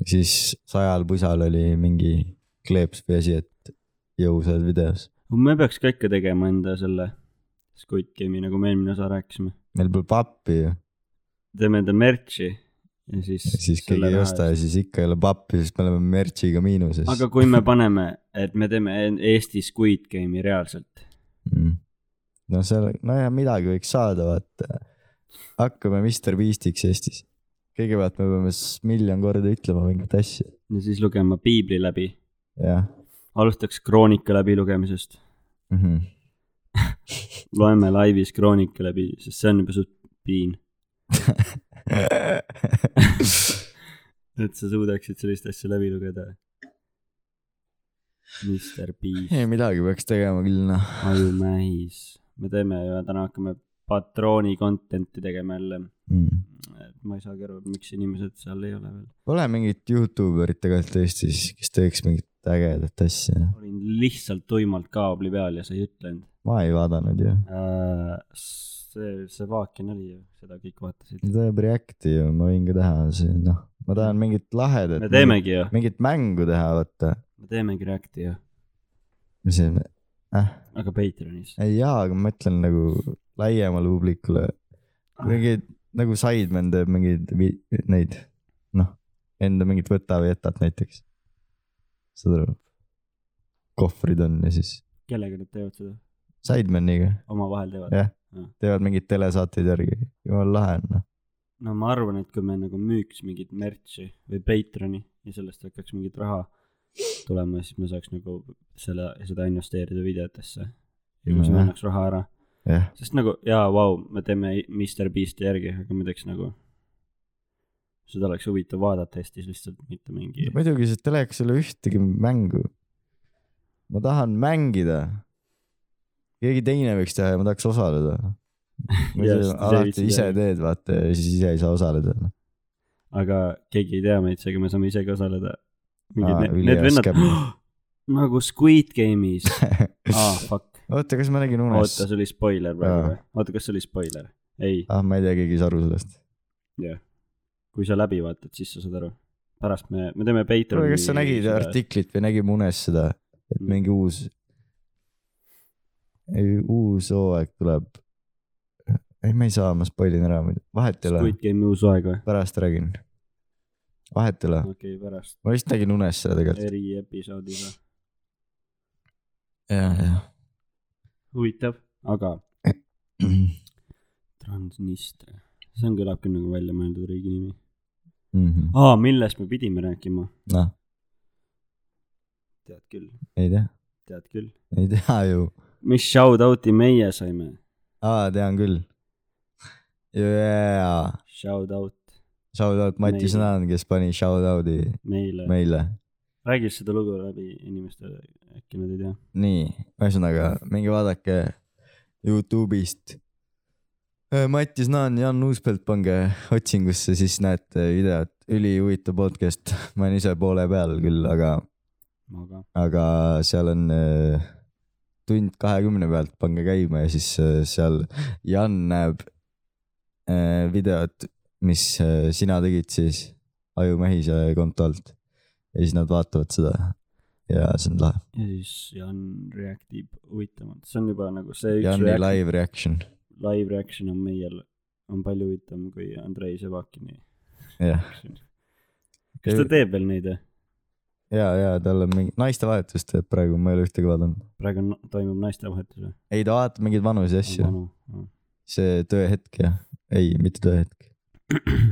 A: siis sajal pusal oli mingi kleeps või asi , et jõu seal videos .
B: me peaks ka ikka tegema enda selle Squid Game'i , nagu me eelmine osa rääkisime .
A: meil pole pappi ju ,
B: teeme enda merch'i ja siis .
A: siis keegi ei osta . ja siis ikka ei ole pappi , sest me oleme merch'iga miinuses .
B: aga kui me paneme , et me teeme en- Eesti Squid Game'i reaalselt ,
A: mm. . no seal , nojah , midagi võiks saada , vaata . hakkame Mr Beastiks Eestis . kõigepealt me peame s- miljon korda ütlema mingit asja ,
B: ja siis lugema piibli läbi ,
A: jah
B: alustaks kroonika läbilugemisest ,
A: mm . -hmm.
B: loeme laivis kroonika läbi , sest see on juba suht piin , et sa suudaksid sellist asja läbi lugeda . Mr Beast .
A: ei , midagi peaks tegema küll , noh .
B: ajumähis , me teeme ju täna hakkame patrooni content'i tegema jälle .
A: Mm.
B: ma ei saagi aru , miks inimesed seal ei ole veel .
A: Pole mingit Youtube erit tegelikult Eestis , kes teeks mingit ägedat asja .
B: olin lihtsalt tuimalt kaabli peal ja sa ei ütelnud
A: ma ei vaadanud ju .
B: äh, . see , see vaakin oli ju , seda kõik vaatasid .
A: ta teeb Reacti ju , ma võin ka teha , see noh , ma tahan mingit lahedat .
B: me . teemegi ju ,
A: mingit mängu teha , vaata .
B: me teemegi Reacti ju ,
A: mis see , ah
B: aga Patreonis .
A: ei jaa , aga ma mõtlen nagu laiemale publikule .
B: Ah.
A: mingeid nagu Sidemen teeb mingeid vi- neid , noh , enda mingit võta või jätat näiteks . saad aru ? kohvrid on ja siis
B: kellega nad teevad seda ?
A: Sidemeniga
B: omavahel teevad ?
A: Jah. teevad mingeid telesaateid järgi , jumala lahe on noh .
B: no ma arvan , et kui me nagu müüks mingit merch'i või Patreoni ja sellest hakkaks mingit raha tulema , siis me saaks nagu selle , seda investeerida videotesse . ja kui see
A: Nojah.
B: annaks raha ära ,
A: Mhm. jah ,
B: sest nagu jaa , vau , me teeme Mr Beast'i järgi , aga me teeks nagu , seda oleks huvitav vaadata Eestis lihtsalt , mitte mingi ,
A: muidugi see telekas ei ole ühtegi mängu . ma tahan mängida . keegi teine võiks teha ja ma tahaks osaleda .
B: Just, see võiks
A: alati ise
B: teha.
A: teed , vaata ja siis ise ei saa osaleda noh.
B: aga keegi ei tea meid , seega me saame ise ka osaleda .
A: Aa,
B: mingid ne-
A: ülihea
B: need vennad
A: skämm. ,
B: nagu Squid Game'is , aa fuck .
A: oota , kas ma nägin unes
B: oota ,? see oli spoiler
A: Jaa.
B: praegu või ? oota , kas see oli spoiler ? ei ,
A: ah , ma ei tea , keegi ei saa aru sellest .
B: kui sa läbi vaatad , siis sa saad aru . pärast me , me teeme
A: kuule
B: Patreoni . ,
A: kas sa nägid artiklit või nägime unes seda , et
B: Mm.
A: mingi uus , uus hooaeg tuleb ? ei , ma ei saa , ma spoil in ära muidu , vahet ei ole ,
B: Squid Game'i uus aeg või ?
A: pärast räägin . vahet ei ole ,
B: okei , pärast
A: ma vist nägin unes seda tegelikult .
B: eriepisoodis või ?
A: ja , ja .
B: huvitav . aga Transnistria , see on , kõlab küll nagu väljamõeldud riigi nimi .
A: Mhm.
B: aa , millest me pidime rääkima ?
A: noh ,
B: tead küll ,
A: ei tea ,
B: tead küll .
A: ei tea ju .
B: mis shout-out'i meie saime ?
A: aa , tean küll . jaa ,
B: Shout-out
A: shout out Mati
B: Meile.
A: Sõnan , kes pani shout out'i
B: meile .
A: meile
B: räägi seda lugu läbi inimestele , äkki nad ei tea .
A: nii , ühesõnaga minge vaadake Youtube'ist . Mattis Naan , Jan Uuspelt pange otsingusse , siis näete videot , ülihuvitav podcast , ma olen ise poole peal küll , aga ,
B: aga
A: aga seal on äh, tund kahekümne pealt , pange käima ja siis äh, seal Jan näeb äh, videot , mis äh, sina tegid siis Ajumehise konto alt ja siis nad vaatavad seda ja see on lahe ,
B: ja siis Jan reaktib huvitavalt , see on juba nagu see üks
A: Jani
B: reaktsioon ,
A: live reaction ,
B: live reaction on meil , on palju huvitavam kui Andrei Sevakini
A: jah .
B: reaction . kas ta teeb veel neid eh? või ?
A: ja , ja tal on mingi naistevahetus teeb praegu , ma ei ole ühtegi vaadanud .
B: praegu on, toimub naistevahetus eh? või ?
A: ei , ta vaatab mingeid vanusi asju , see tööhetk ja , ei , mitte tööhetk .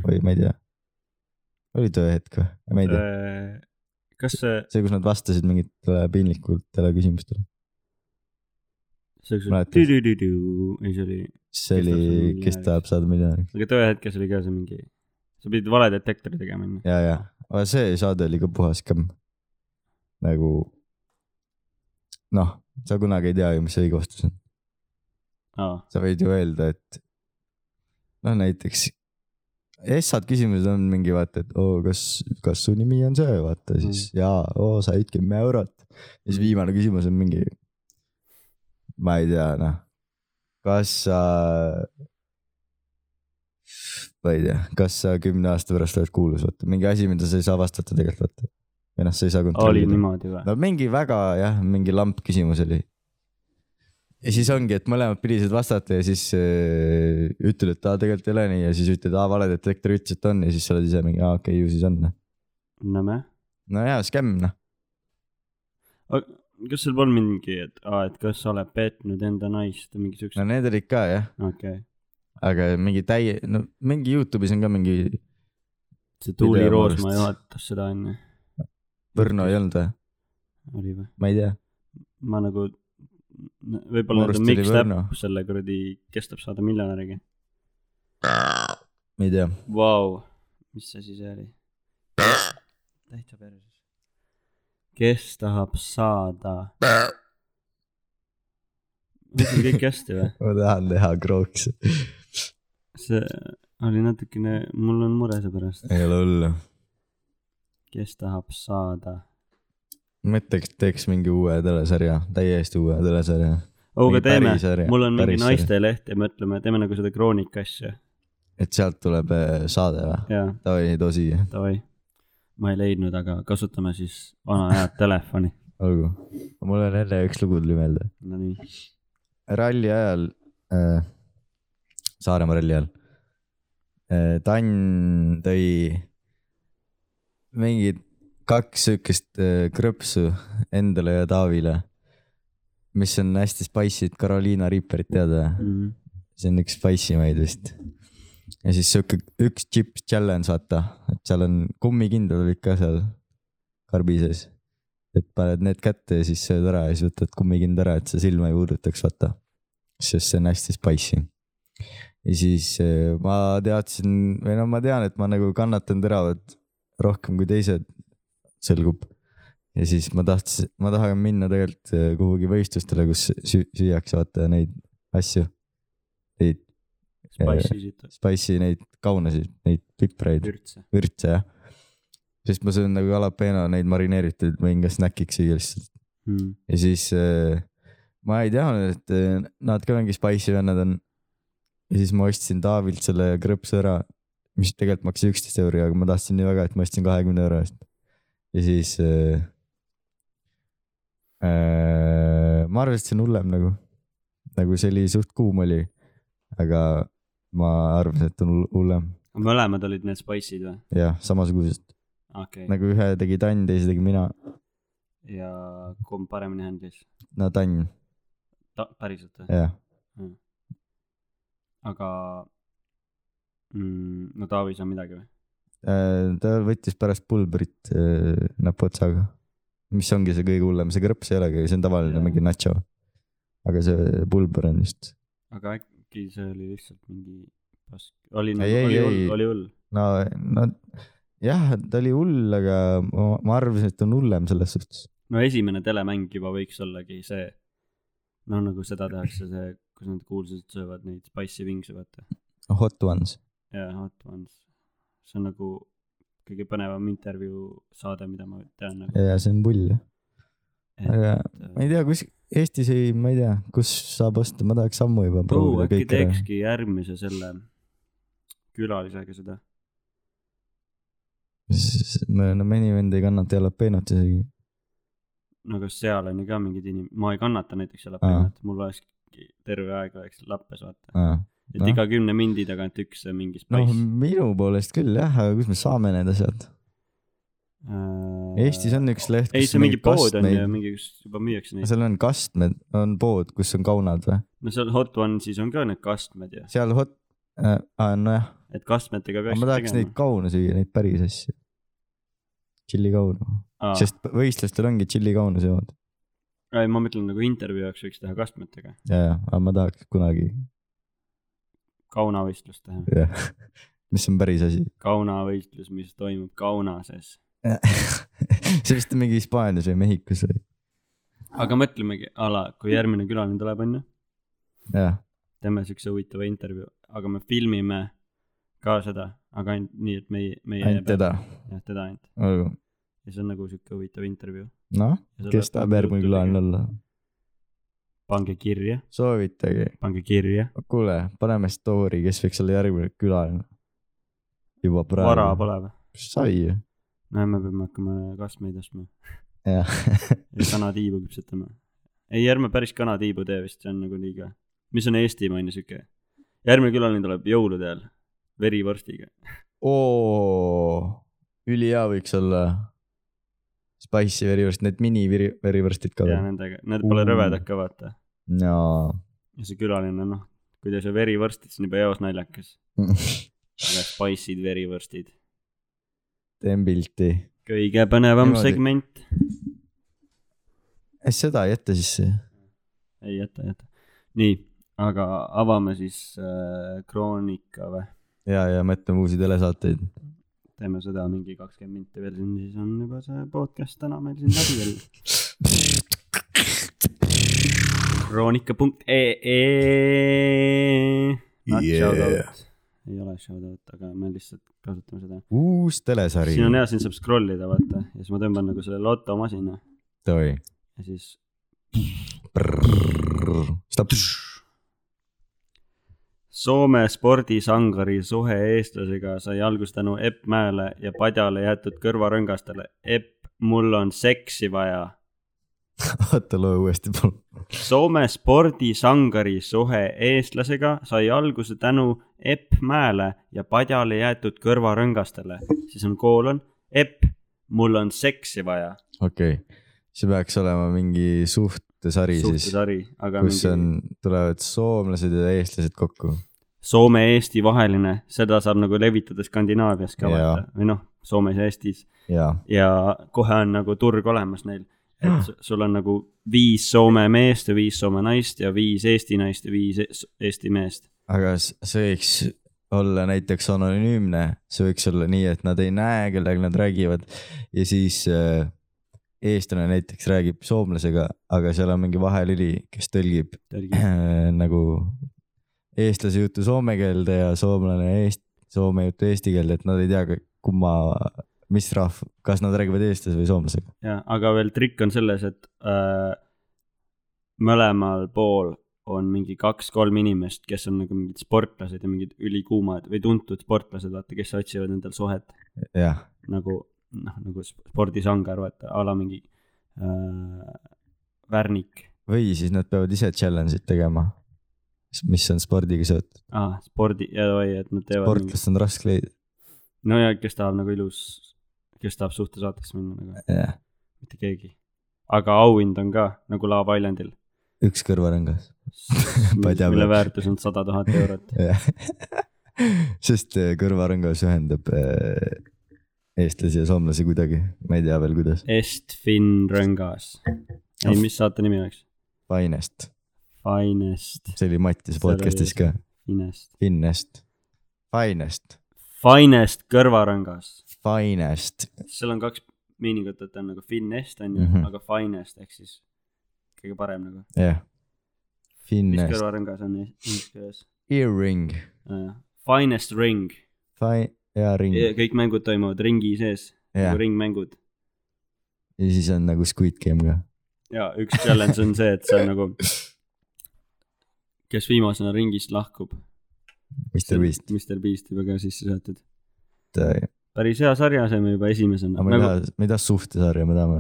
A: oi , ma ei tea . oli tööhetk või ? ma ei tea ,
B: Äh, kas see ,
A: see , kus nad vastasid mingitele piinlikutele küsimustele ,
B: see üks
A: Mäletad?
B: tüdüdüdü , ei see oli ,
A: see
B: Kes tahab
A: oli kes tahab
B: saada ,
A: saada miljonäriks .
B: aga too hetk see oli ka see mingi , sa pidid valedetektori tegema onju .
A: ja , ja , aga see saade oli ka puhas skämm . nagu noh , sa kunagi ei tea ju , mis õige vastus on .
B: aa ,
A: sa võid ju öelda , et noh , näiteks essad küsimused on mingi vaata , et oo , kas , kas su nimi on see , vaata siis jaa , oo , said kümme eurot . ja siis viimane küsimus on mingi , ma ei tea , noh , kas sa , ma ei tea , kas sa kümne aasta pärast oled kuulus , vaata mingi asi , mida sa ei saa vastata tegelikult , vaata . või noh , sa ei saa
B: oli
A: kontrollida .
B: niimoodi või ?
A: no mingi väga jah , mingi lamp küsimus oli . ja siis ongi , et mõlemad pidisid vastata ja siis äh, ütled , et aa , tegelikult ei ole nii ja siis ütled , aa , valedetektor ütles , et on ja siis sa oled ise mingi , aa , okei okay, , ju siis on .
B: näeme .
A: no jaa , skämm noh .
B: kas sul polnud mingi , et aa , et kas sa oled petnud enda naist või mingi siukse
A: no ? need olid ka jah ,
B: okei ,
A: aga mingi täie , no mingi Youtube'is on ka mingi ,
B: see Tuuli
A: Video
B: Roosma
A: poolest.
B: juhatas seda onju ,
A: Võrno ei olnud või ?
B: oli või ?
A: ma ei tea ,
B: ma nagu , võib-olla
A: Mu
B: ta
A: arust oli
B: mixed
A: Võrno.
B: up selle kuradi , kes tahab saada miljonäriga .
A: ma ei tea .
B: Vau , mis asi see oli ? täitsa perses . kes tahab saada ? mis on kõik hästi või ?
A: ma tahan teha krooks .
B: see oli natukene , mul on mure see pärast ,
A: ei ole hullu .
B: kes tahab saada .
A: mõtleks , teeks mingi uue telesarja , täiesti uue telesarja .
B: oo , Oh, aga
A: Mingi
B: teeme
A: päris sarja, ,
B: mul on mingi
A: päris sarja.
B: naisteleht ja mõtleme , teeme nagu seda Kroonika asja ,
A: et sealt tuleb äh, saade või ?
B: jaa ,
A: davai , tosi ,
B: davai . ma ei leidnud , aga kasutame siis vana head telefoni .
A: olgu . mul on jälle üks lugu tuli meelde .
B: Nonii ,
A: ralli ajal äh, , Saaremaa ralli ajal äh, , Tann tõi mingid kaks siukest äh, krõpsu endale ja Taavile , mis on hästi spicy'd Carolina Reaperit , tead või ?
B: Mhm.
A: see on üks spicy maid vist . ja siis sihuke üks chips challenge , vaata , et seal on kummikindad olid ka seal karbi sees . et paned need kätte ja siis sööd ära ja siis võtad kummikind ära , et sa silma ei puudutaks , vaata . sest see on hästi spicy . ja siis eh, ma teadsin või no ma tean , et ma nagu kannatan teravalt rohkem kui teised , selgub ja siis ma tahtsin , ma tahan minna tegelikult eh, kuhugi võistlustele , kus sü- süüakse vaata neid asju , neid
B: spice'isid
A: spicy neid kaunasid , neid pipraid ,
B: vürtse .
A: vürtse jah . sest ma söön nagu jalapeno neid marineeritud , võin ka snäkiks süüa lihtsalt ja siis äh, ma ei teadnud , et äh, nad ka mingi spicy vennad on . ja siis ma ostsin Taavilt selle krõpsu ära , mis tegelikult maksis üksteist euri , aga ma tahtsin nii väga , et ma ostsin kahekümne euro eest . ja siis äh, . Äh, ma arvasin , et see on hullem nagu , nagu see oli suht kuum oli , aga ma arvasin , et on hull- hullem
B: mõlemad olid need spice'id või ?
A: jah , samasugused
B: okei okay. ,
A: nagu ühe tegi Tann , teise tegi mina , Nagu-
B: ja kumb paremini händlis ?
A: no Tann ,
B: ta- , päriselt või ?
A: jah ,
B: aga mm, , no Taavi ei saa midagi või ?
A: Äh, ta võttis pärast pulbrit äh, näpuotsaga , mis ongi see kõige hullem , see krõps ei olegi , see on tavaline
B: Jaa.
A: mingi nacho . aga see pulber on just ,
B: aga äkki see oli lihtsalt mingi pask , oli nagu ,
A: Ei, ei,
B: oli
A: ei.
B: hull , oli hull .
A: no , no jah , ta oli hull , aga ma, ma arvasin , et on hullem selles suhtes .
B: no esimene telemäng juba võiks ollagi see , noh , nagu seda tehakse , see , kus need kuulsused söövad neid spicy vings'e , vaata .
A: Hot ones ,
B: jaa , Hot Ones . see on nagu kõige põnevam intervjuu saade , mida ma tean nagu .
A: ja see on pull ,
B: et äh,
A: aga ma ei tea , kus Eestis ei , ma ei tea , kus saab osta , ma tahaks ammu juba
B: oh,
A: proovida
B: äkki
A: kõik ära .
B: teekski järgmise selle külalisega seda .
A: me , no minu vend ei kannata jalapenot isegi ,
B: no kas seal on ju ka mingid inim- , ma ei kannata näiteks jalapenot , mul oleks terve aeg oleks lappes vaata .
A: aa
B: et
A: noh.
B: iga kümne mindi tagant üks mingi
A: noh ,
B: spice .
A: minu poolest küll jah , aga kus me saame need asjad ? Eestis on üks leht ,
B: Äh, ei , see mingi pood on ju ,
A: kastmeid ,
B: mingi , kus juba müüakse neid .
A: seal on kastmed , on pood , kus on kaunad või ?
B: no seal Hot Onesis on ka need kastmed ju ,
A: seal hot- äh, , aa nojah ,
B: et kastmetega peaks
A: ma tahaks neid kaune süüa , neid päris asju . tšillikaunu ,
B: Aa,
A: sest võistlustel ongi tšillikaunu söövad
B: ei , ma mõtlen nagu intervjuu jaoks võiks teha kastmetega ,
A: ja , ja , aga ma tahaks kunagi ,
B: kaunavõistlust teha .
A: jah , mis on päris asi .
B: kaunavõistlus , mis toimub Kaunases .
A: see vist on mingi Hispaanias või Mehhikos või ,
B: aga mõtlemegi , ala , kui järgmine külaline tuleb , onju ,
A: jah ,
B: teeme siukse huvitava intervjuu , aga me filmime ka seda , aga ainult nii , et meie , meie .
A: ainult . teda ,
B: jah , teda ainult .
A: olgu ,
B: ja see on nagu siuke huvitav intervjuu .
A: noh , kes tahab järgmine külaline ? olla ,
B: pange kirja ,
A: soovitage
B: pange kirja ,
A: kuule , paneme story , kes võiks olla järgmine külaline . juba
B: vara
A: praegu .
B: pole või ?
A: sai ju .
B: no me peame hakkama kastmeid ostma
A: jah ,
B: ja kanatiibu küpsetama . ei , ärme päris kanatiibu tee vist , see on nagu liiga . mis on eestimaine sihuke ? järgmine külaline tuleb jõulude ajal , verivorstiga .
A: oo , ülihea võiks olla . Spice'i verivorst , need mini veri- , verivorstid ka
B: ja
A: veel .
B: nendega , need pole
A: Uu.
B: rõvedad ka vaata .
A: jaa .
B: ja see külaline , noh , kui ta ei saa verivorstid , siis on juba eos naljakas . aga spice'id , verivorstid .
A: teen pilti .
B: kõige põnevam
A: Niimoodi.
B: segment .
A: seda ei jäta sisse .
B: ei jäta , jäta . nii , aga avame siis äh, kroonika või ?
A: ja , ja mõtleme uusi telesaateid .
B: teeme seda mingi kakskümmend minti veel siin , siis on juba see podcast täna meil siin läbi jälle . kroonika.ee . E Not
A: Yeah.
B: yeah. shoutout , ei ole shoutout , aga me lihtsalt kasutame seda .
A: uus telesari .
B: siin on hea , siin saab scroll ida , vaata , ja siis ma tõmban nagu selle lotomasina
A: oi .
B: ja siis
A: Stopp .
B: Soome spordisangari suhe eestlasega sai algust tänu Epp Mäele ja Padjale jäetud kõrvarõngastele . Epp , mul on seksi vaja .
A: oota , loe uuesti palun .
B: Soome spordisangari suhe eestlasega sai alguse tänu Epp Mäele ja Padjale jäetud kõrvarõngastele . siis on koolon Epp , mul on seksi vaja .
A: okei okay. , see peaks olema mingi suhtesari siis ,
B: suhtesari , aga
A: kus
B: mingi
A: on , tulevad soomlased ja eestlased kokku .
B: Soome-Eesti vaheline , seda saab nagu levitada Skandinaavias ka
A: Jaa.
B: vaata või noh , Soomes ja Eestis .
A: jaa ,
B: ja kohe on nagu turg olemas neil . et s- sul on nagu viis Soome meest ja viis Soome naist ja viis Eesti naist ja viis es- Eesti meest .
A: aga s- see võiks olla näiteks anonüümne , see võiks olla nii , et nad ei näe , kellega nad räägivad ja siis äh, eestlane näiteks räägib soomlasega , aga seal on mingi vahelüli , kes tõlgib äh, nagu eestlase juttu soome keelde ja soomlane eest- , soome juttu eesti keelde , et nad ei tea , kumma , mis rahv- , kas nad räägivad eestlase või soomlasega .
B: ja , aga veel trikk on selles , et äh, mõlemal pool on mingi kaks-kolm inimest , kes on nagu mingid sportlased ja mingid ülikuumad või tuntud sportlased , vaata , kes otsivad endal suhet
A: jah ,
B: nagu noh , nagu sp- spordisangar , vaata , a la mingi äh, värnik
A: või siis nad peavad ise challenge'id tegema , mis on spordiga seotud .
B: ah, , spordi , või et nad teevad mingi-
A: sportlast on raske leida ,
B: no ja kes tahab nagu ilus , kes tahab suhtesaateks minna nagu ,
A: jah ,
B: mitte keegi . aga auhind on ka nagu Laava Islandil ,
A: üks kõrvarõngas , tea,
B: mille
A: peab.
B: väärtus on sada tuhat eurot .
A: jah . sest äh, kõrvarõngas ühendab äh, eestlasi ja soomlasi kuidagi , ma ei tea veel , kuidas .
B: Estfin Rõngas . ei , mis saate nimi oleks ?
A: Finest ,
B: Finest ,
A: see oli Mattis
B: Seal oli
A: podcast'is ka ,
B: Finest ,
A: Finest , Finest ,
B: Finest kõrvarõngas .
A: Finest ,
B: seal on kaks miiningut , et on nagu Finest on ju mm ,
A: Mhm.
B: -hmm. aga Finest ehk siis kõige parem nagu .
A: jah .
B: mis
A: Finest ,
B: kõrvarõngas on inglise keeles ?
A: earring ,
B: Finest Äh, ring ,
A: fine , jaa , ring ja
B: kõik mängud toimuvad ringi sees , nagu ringmängud .
A: ja siis on nagu Squid Game ka .
B: ja üks challenge on see , et sa nagu , kes viimasena ringist lahkub .
A: Mr Beast ,
B: Mr Beast juba ka sisse seatud .
A: et
B: päris hea sarja saime juba esimesena
A: aga . me ei
B: Nagu,
A: taha , me ei taha suhtesarja , me tahame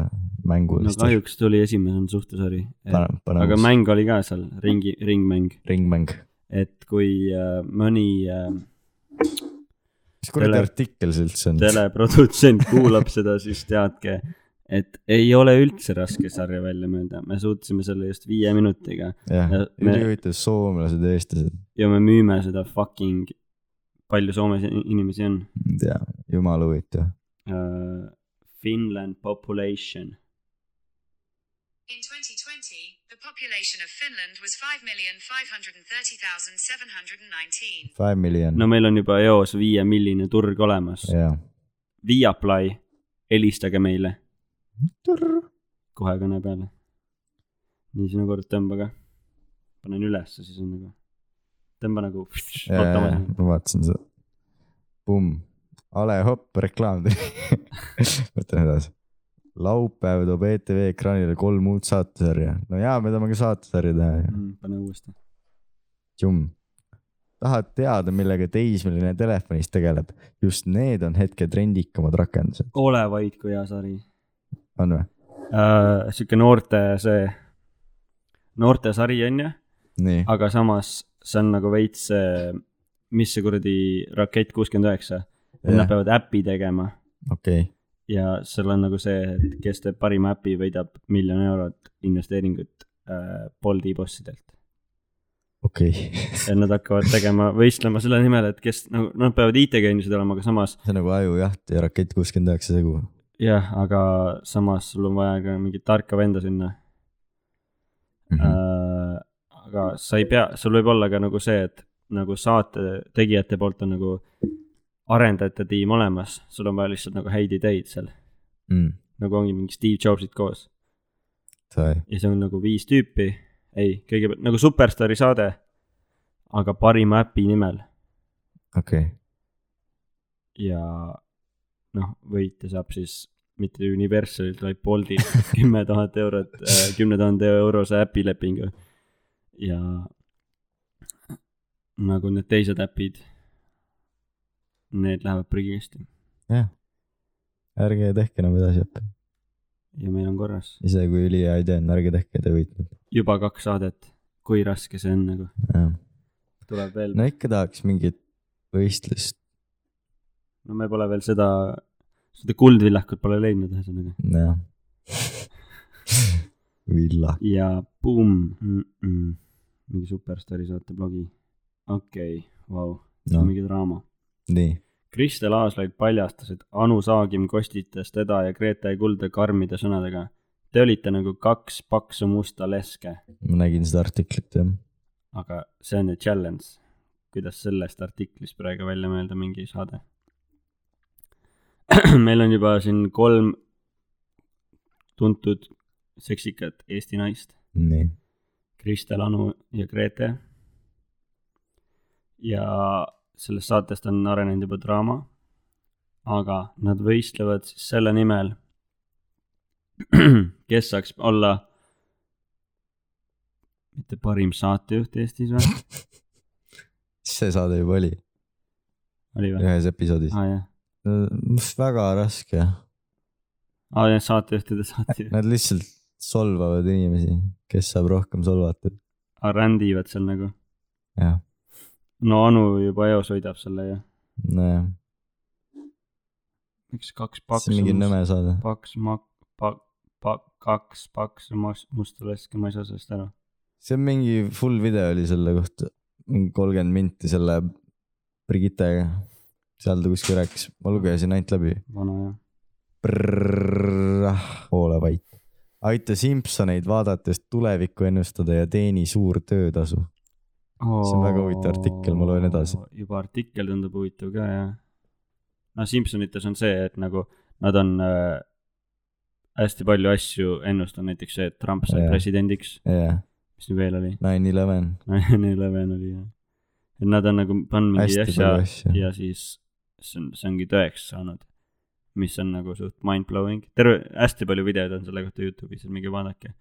A: mängu
B: no
A: lihtsalt .
B: kahjuks tuli esimesena suhtesari .
A: paneme , paneme
B: aga
A: uus
B: mäng oli ka seal , ringi , ringmäng ,
A: ringmäng .
B: et kui äh, mõni äh,
A: mis kuradi
B: Tele-
A: artikkel see üldse on ?
B: teleprodutsent kuulab seda , siis teadke , et ei ole üldse raske sarja välja mõelda , me suutsime selle just viie minutiga
A: jah ,
B: me-
A: ülihuvitav , soomlased ja eestlased ,
B: ja me müüme seda fucking , palju Soomes in- inimesi on
A: ei tea , jumala huvitav .
B: uh, Finland population .
C: In 2020, the population of Finland was 5,530,719.
A: Five million
B: no
A: no, ,
B: meil on juba eos viie milline turg olemas .
A: jaa .
B: Viaplay , helistage meile kohe kõne peale . nii , sinu kord tõmba ka . panen ülesse , siis on nagu , tõmba nagu .
A: jaa , ma vaatasin seda . Pumm , A Le Hopp reklaam tuli . võtame edasi . laupäev toob ETV ekraanile kolm uut
B: Mm,
A: saatesarja . no jaa , me tahame ka saatesarja teha ju .
B: pane uuesti .
A: Tšum . tahad teada , millega teismeline telefonis tegeleb , just need on hetke trendikamad rakendused ,
B: ole vaid , kui hea sari
A: on või ?
B: uh, . sihuke noorte see , noortesari on ju ,
A: nii ,
B: aga samas see on nagu veits see , mis see kuradi Rakett kuuskümmend üheksa , et nad
A: jah ,
B: peavad äpi tegema
A: okei ,
B: ja seal on nagu see , et kes teeb parima äpi , võidab miljon eurot investeeringut uh, Bolti bossidelt .
A: okei ,
B: ja nad hakkavad tegema , võistlema selle nimel , et kes nagu nad peavad IT-geenised olema , aga samas
A: see on nagu ajujaht ja rakett kuuskümmend üheksa segu .
B: jah , aga samas sul on vaja ka mingit tarka venda sinna mm . -hmm. Äh, aga sa ei pea , sul võib olla ka nagu see , et nagu saate tegijate poolt on nagu arendajate tiim olemas , sul on vaja lihtsalt nagu häid ideid seal ,
A: Mm,
B: nagu ongi mingi Steve Jobsid koos
A: sai ,
B: ja see on nagu viis tüüpi , ei , kõigepealt nagu Superstaari saade , aga parima äpi nimel
A: okei ,
B: ja noh , võitja saab siis mitte Universalilt , vaid Boltilt kümme tuhat eurot , kümne tuhande eurose äpilepingu . ja nagu need teised äpid , need lähevad prügikasti
A: jah . ärge tehke enam edasi ,
B: ja meil on korras
A: isegi kui ülihea idee on , ärge tehke , te võite .
B: juba kaks saadet , kui raske see on nagu , tuleb veel
A: no ikka tahaks mingit võistlust ,
B: no me pole veel seda , seda kuldvillakut pole leidnud ühesõnaga
A: jah . villa ,
B: ja buum mm , -mm. mingi superstaari saate blogi , okei okay, , vau no. ,
A: noh ,
B: mingi draama .
A: nii ,
B: Kristel Aaslaid paljastas , et Anu Saagim kostitas teda ja Grete Kulda karmide sõnadega . Te olite nagu kaks paksu musta leske ,
A: ma nägin seda artiklit jah ,
B: aga see on ju challenge . kuidas sellest artiklist praegu välja mõelda mingi saade ? meil on juba siin kolm tuntud seksikat Eesti naist .
A: nii ,
B: Kristel , Anu ja Grete . ja sellest saatest on arenenud juba draama . aga nad võistlevad siis selle nimel , kes saaks olla mitte parim saatejuht Eestis või ,
A: see saade juba oli
B: oli või ?
A: ühes episoodis ,
B: aa jah ,
A: väga raske ,
B: aa Ah, jah , saatejuhtide saatejuht ,
A: nad lihtsalt solvavad inimesi , kes saab rohkem solvatud ,
B: rändivad seal nagu .
A: jah ,
B: no Anu juba eos võidab selle ju .
A: nojah ,
B: üks kaks
A: see on mingi
B: paksu ,
A: nõme saade ,
B: paks mak- , pak- , pak- , kaks paksu must- musta leske , ma ei saa sellest aru .
A: see on mingi full video oli selle kohta , mingi kolmkümmend minti selle Brigittega , seal ta kuskil rääkis , ma lugesin ainult läbi
B: vana jah .
A: Prrrrah, ole vait . aita Simsoneid vaadates tulevikku ennustada ja teeni suur töötasu . See on väga huvitav artikkel, ma loen edasi.
B: juba artikkel tundub huvitav ka jah . no Simsonites on see , et nagu nad on äh, hästi palju asju ennustanud , näiteks see , et Trump sai
A: Jah.
B: presidendiks ,
A: jah ,
B: mis siin veel oli ,
A: nine eleven ,
B: Nine Eleven oli jah . et nad on nagu pannud mingi
A: hästi
B: asja
A: palju asju .
B: ja siis see on , see ongi tõeks saanud , mis on nagu suht mind-blowing , terve , hästi palju videoid on selle kohta Youtube'is , minge vaadake ,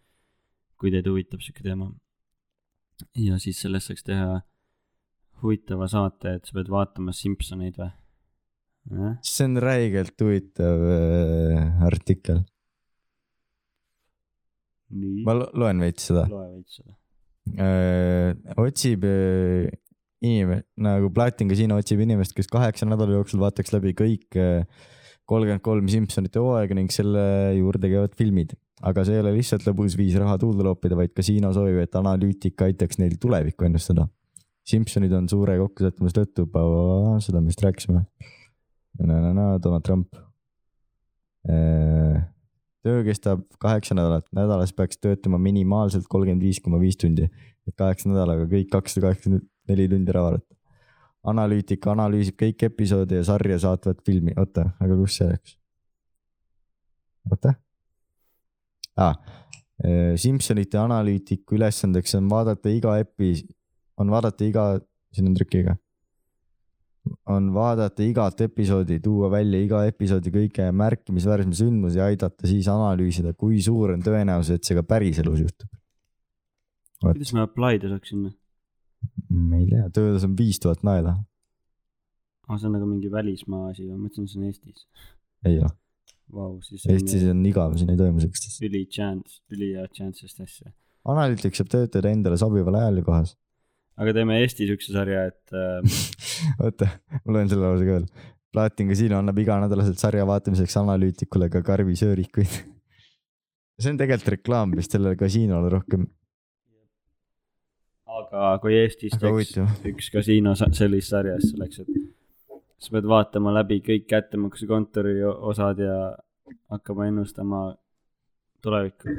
B: kui teid huvitab sihuke teema . ja siis sellest saaks teha huvitava saate , et sa pead vaatama Simsoneid või ?
A: see on räigelt huvitav äh, artikkel ,
B: nii
A: ma lo- loen veits seda .
B: loe veits seda .
A: otsib äh, inimene , nagu Platin Casino otsib inimest , kes kaheksa nädala jooksul vaataks läbi kõik äh, kolmkümmend kolm Simsonite hooaega ning selle juurde käivad filmid . aga see ei ole lihtsalt lõbus viis raha tuulde loopida , vaid kasiino soovib , et analüütik aitaks neil tulevikku ennustada . Simsonid on suure kokkusattumuse tõttu , seda me vist rääkisime . Donald Trump . töö kestab kaheksa nädalat , nädalas peaks töötama minimaalselt kolmkümmend viis koma viis tundi , et kaheksa nädalaga kõik kakssada kaheksakümmend neli tundi ära arvata . analüütik analüüsib kõiki episoode ja sarja saatvat filmi , oota , aga kus see läks ? oota ah, . Simsonite analüütiku ülesandeks on vaadata iga epi , on vaadata iga , siin on trükiga . on vaadata igat episoodi , tuua välja iga episoodi kõige märkimisväärsem sündmus ja aidata siis analüüsida , kui suur on tõenäosus , et see ka päriselus juhtub .
B: kuidas ma apply da saaks sinna ?
A: ma ei tea , ta ütles , on viis tuhat naela .
B: aa , see on nagu mingi välismaa asi , ma mõtlesin , see on Eestis .
A: ei ole ,
B: Vau , siis
A: Eestis
B: on
A: on igav , siin ei toimu siukest asja .
B: üli chance , ülihea chance sest asja .
A: analüütik saab töötada endale sobival ajal ja kohas .
B: aga teeme Eesti siukse sarja , et äh,
A: oota , ma loen selle lause ka veel . Platin Casino annab iganädalaselt sarja vaatamiseks analüütikule ka karvisöörikuid . see on tegelikult reklaam vist sellele kasiinole rohkem ,
B: aga kui Eestis
A: aga
B: teeks
A: huvitav .
B: üks kasiino sa- sellises sarjas selleks , et sa pead vaatama läbi kõik kättemaksukontori o- osad ja hakkama ennustama tulevikku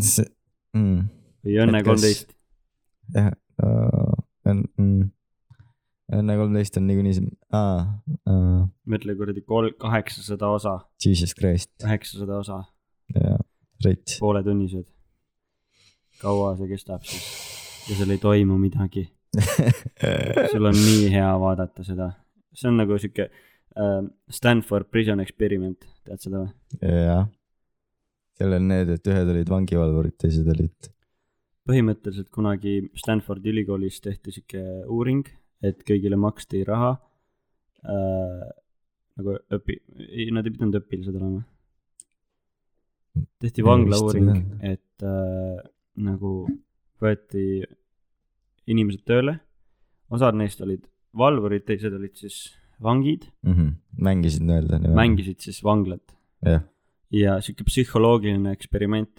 A: see mm, ,
B: või Õnne
A: Et kas-
B: kolmteist .
A: jah uh, , on mm, , Õnne kolmteist on niikuinii see ah, , uh,
B: mõtle kuradi kolm , kaheksasada osa ,
A: Jesus Christ ,
B: kaheksasada osa ,
A: jaa , rets .
B: pooletunnised . kaua see kestab siis ja seal ei toimu midagi , sul on nii hea vaadata seda , see on nagu sihuke äh, Stanford Prison Experiment , tead seda või ?
A: jah , seal on need , et ühed olid vangivalvurid , teised olid ,
B: põhimõtteliselt kunagi Stanfordi ülikoolis tehti sihuke uuring , et kõigile maksti raha äh, . nagu õpi- , ei nad ei pidanud õpilased olema .
A: Ei,
B: tehti
A: vist ei
B: vanglauuring ,
A: pidanud.
B: et äh, nagu võeti inimesed tööle , osad neist olid valvurid , teised olid siis vangid ,
A: mm -hmm. mängisid nii-öelda .
B: mängisid siis vanglat
A: Jah. .
B: ja sihuke psühholoogiline eksperiment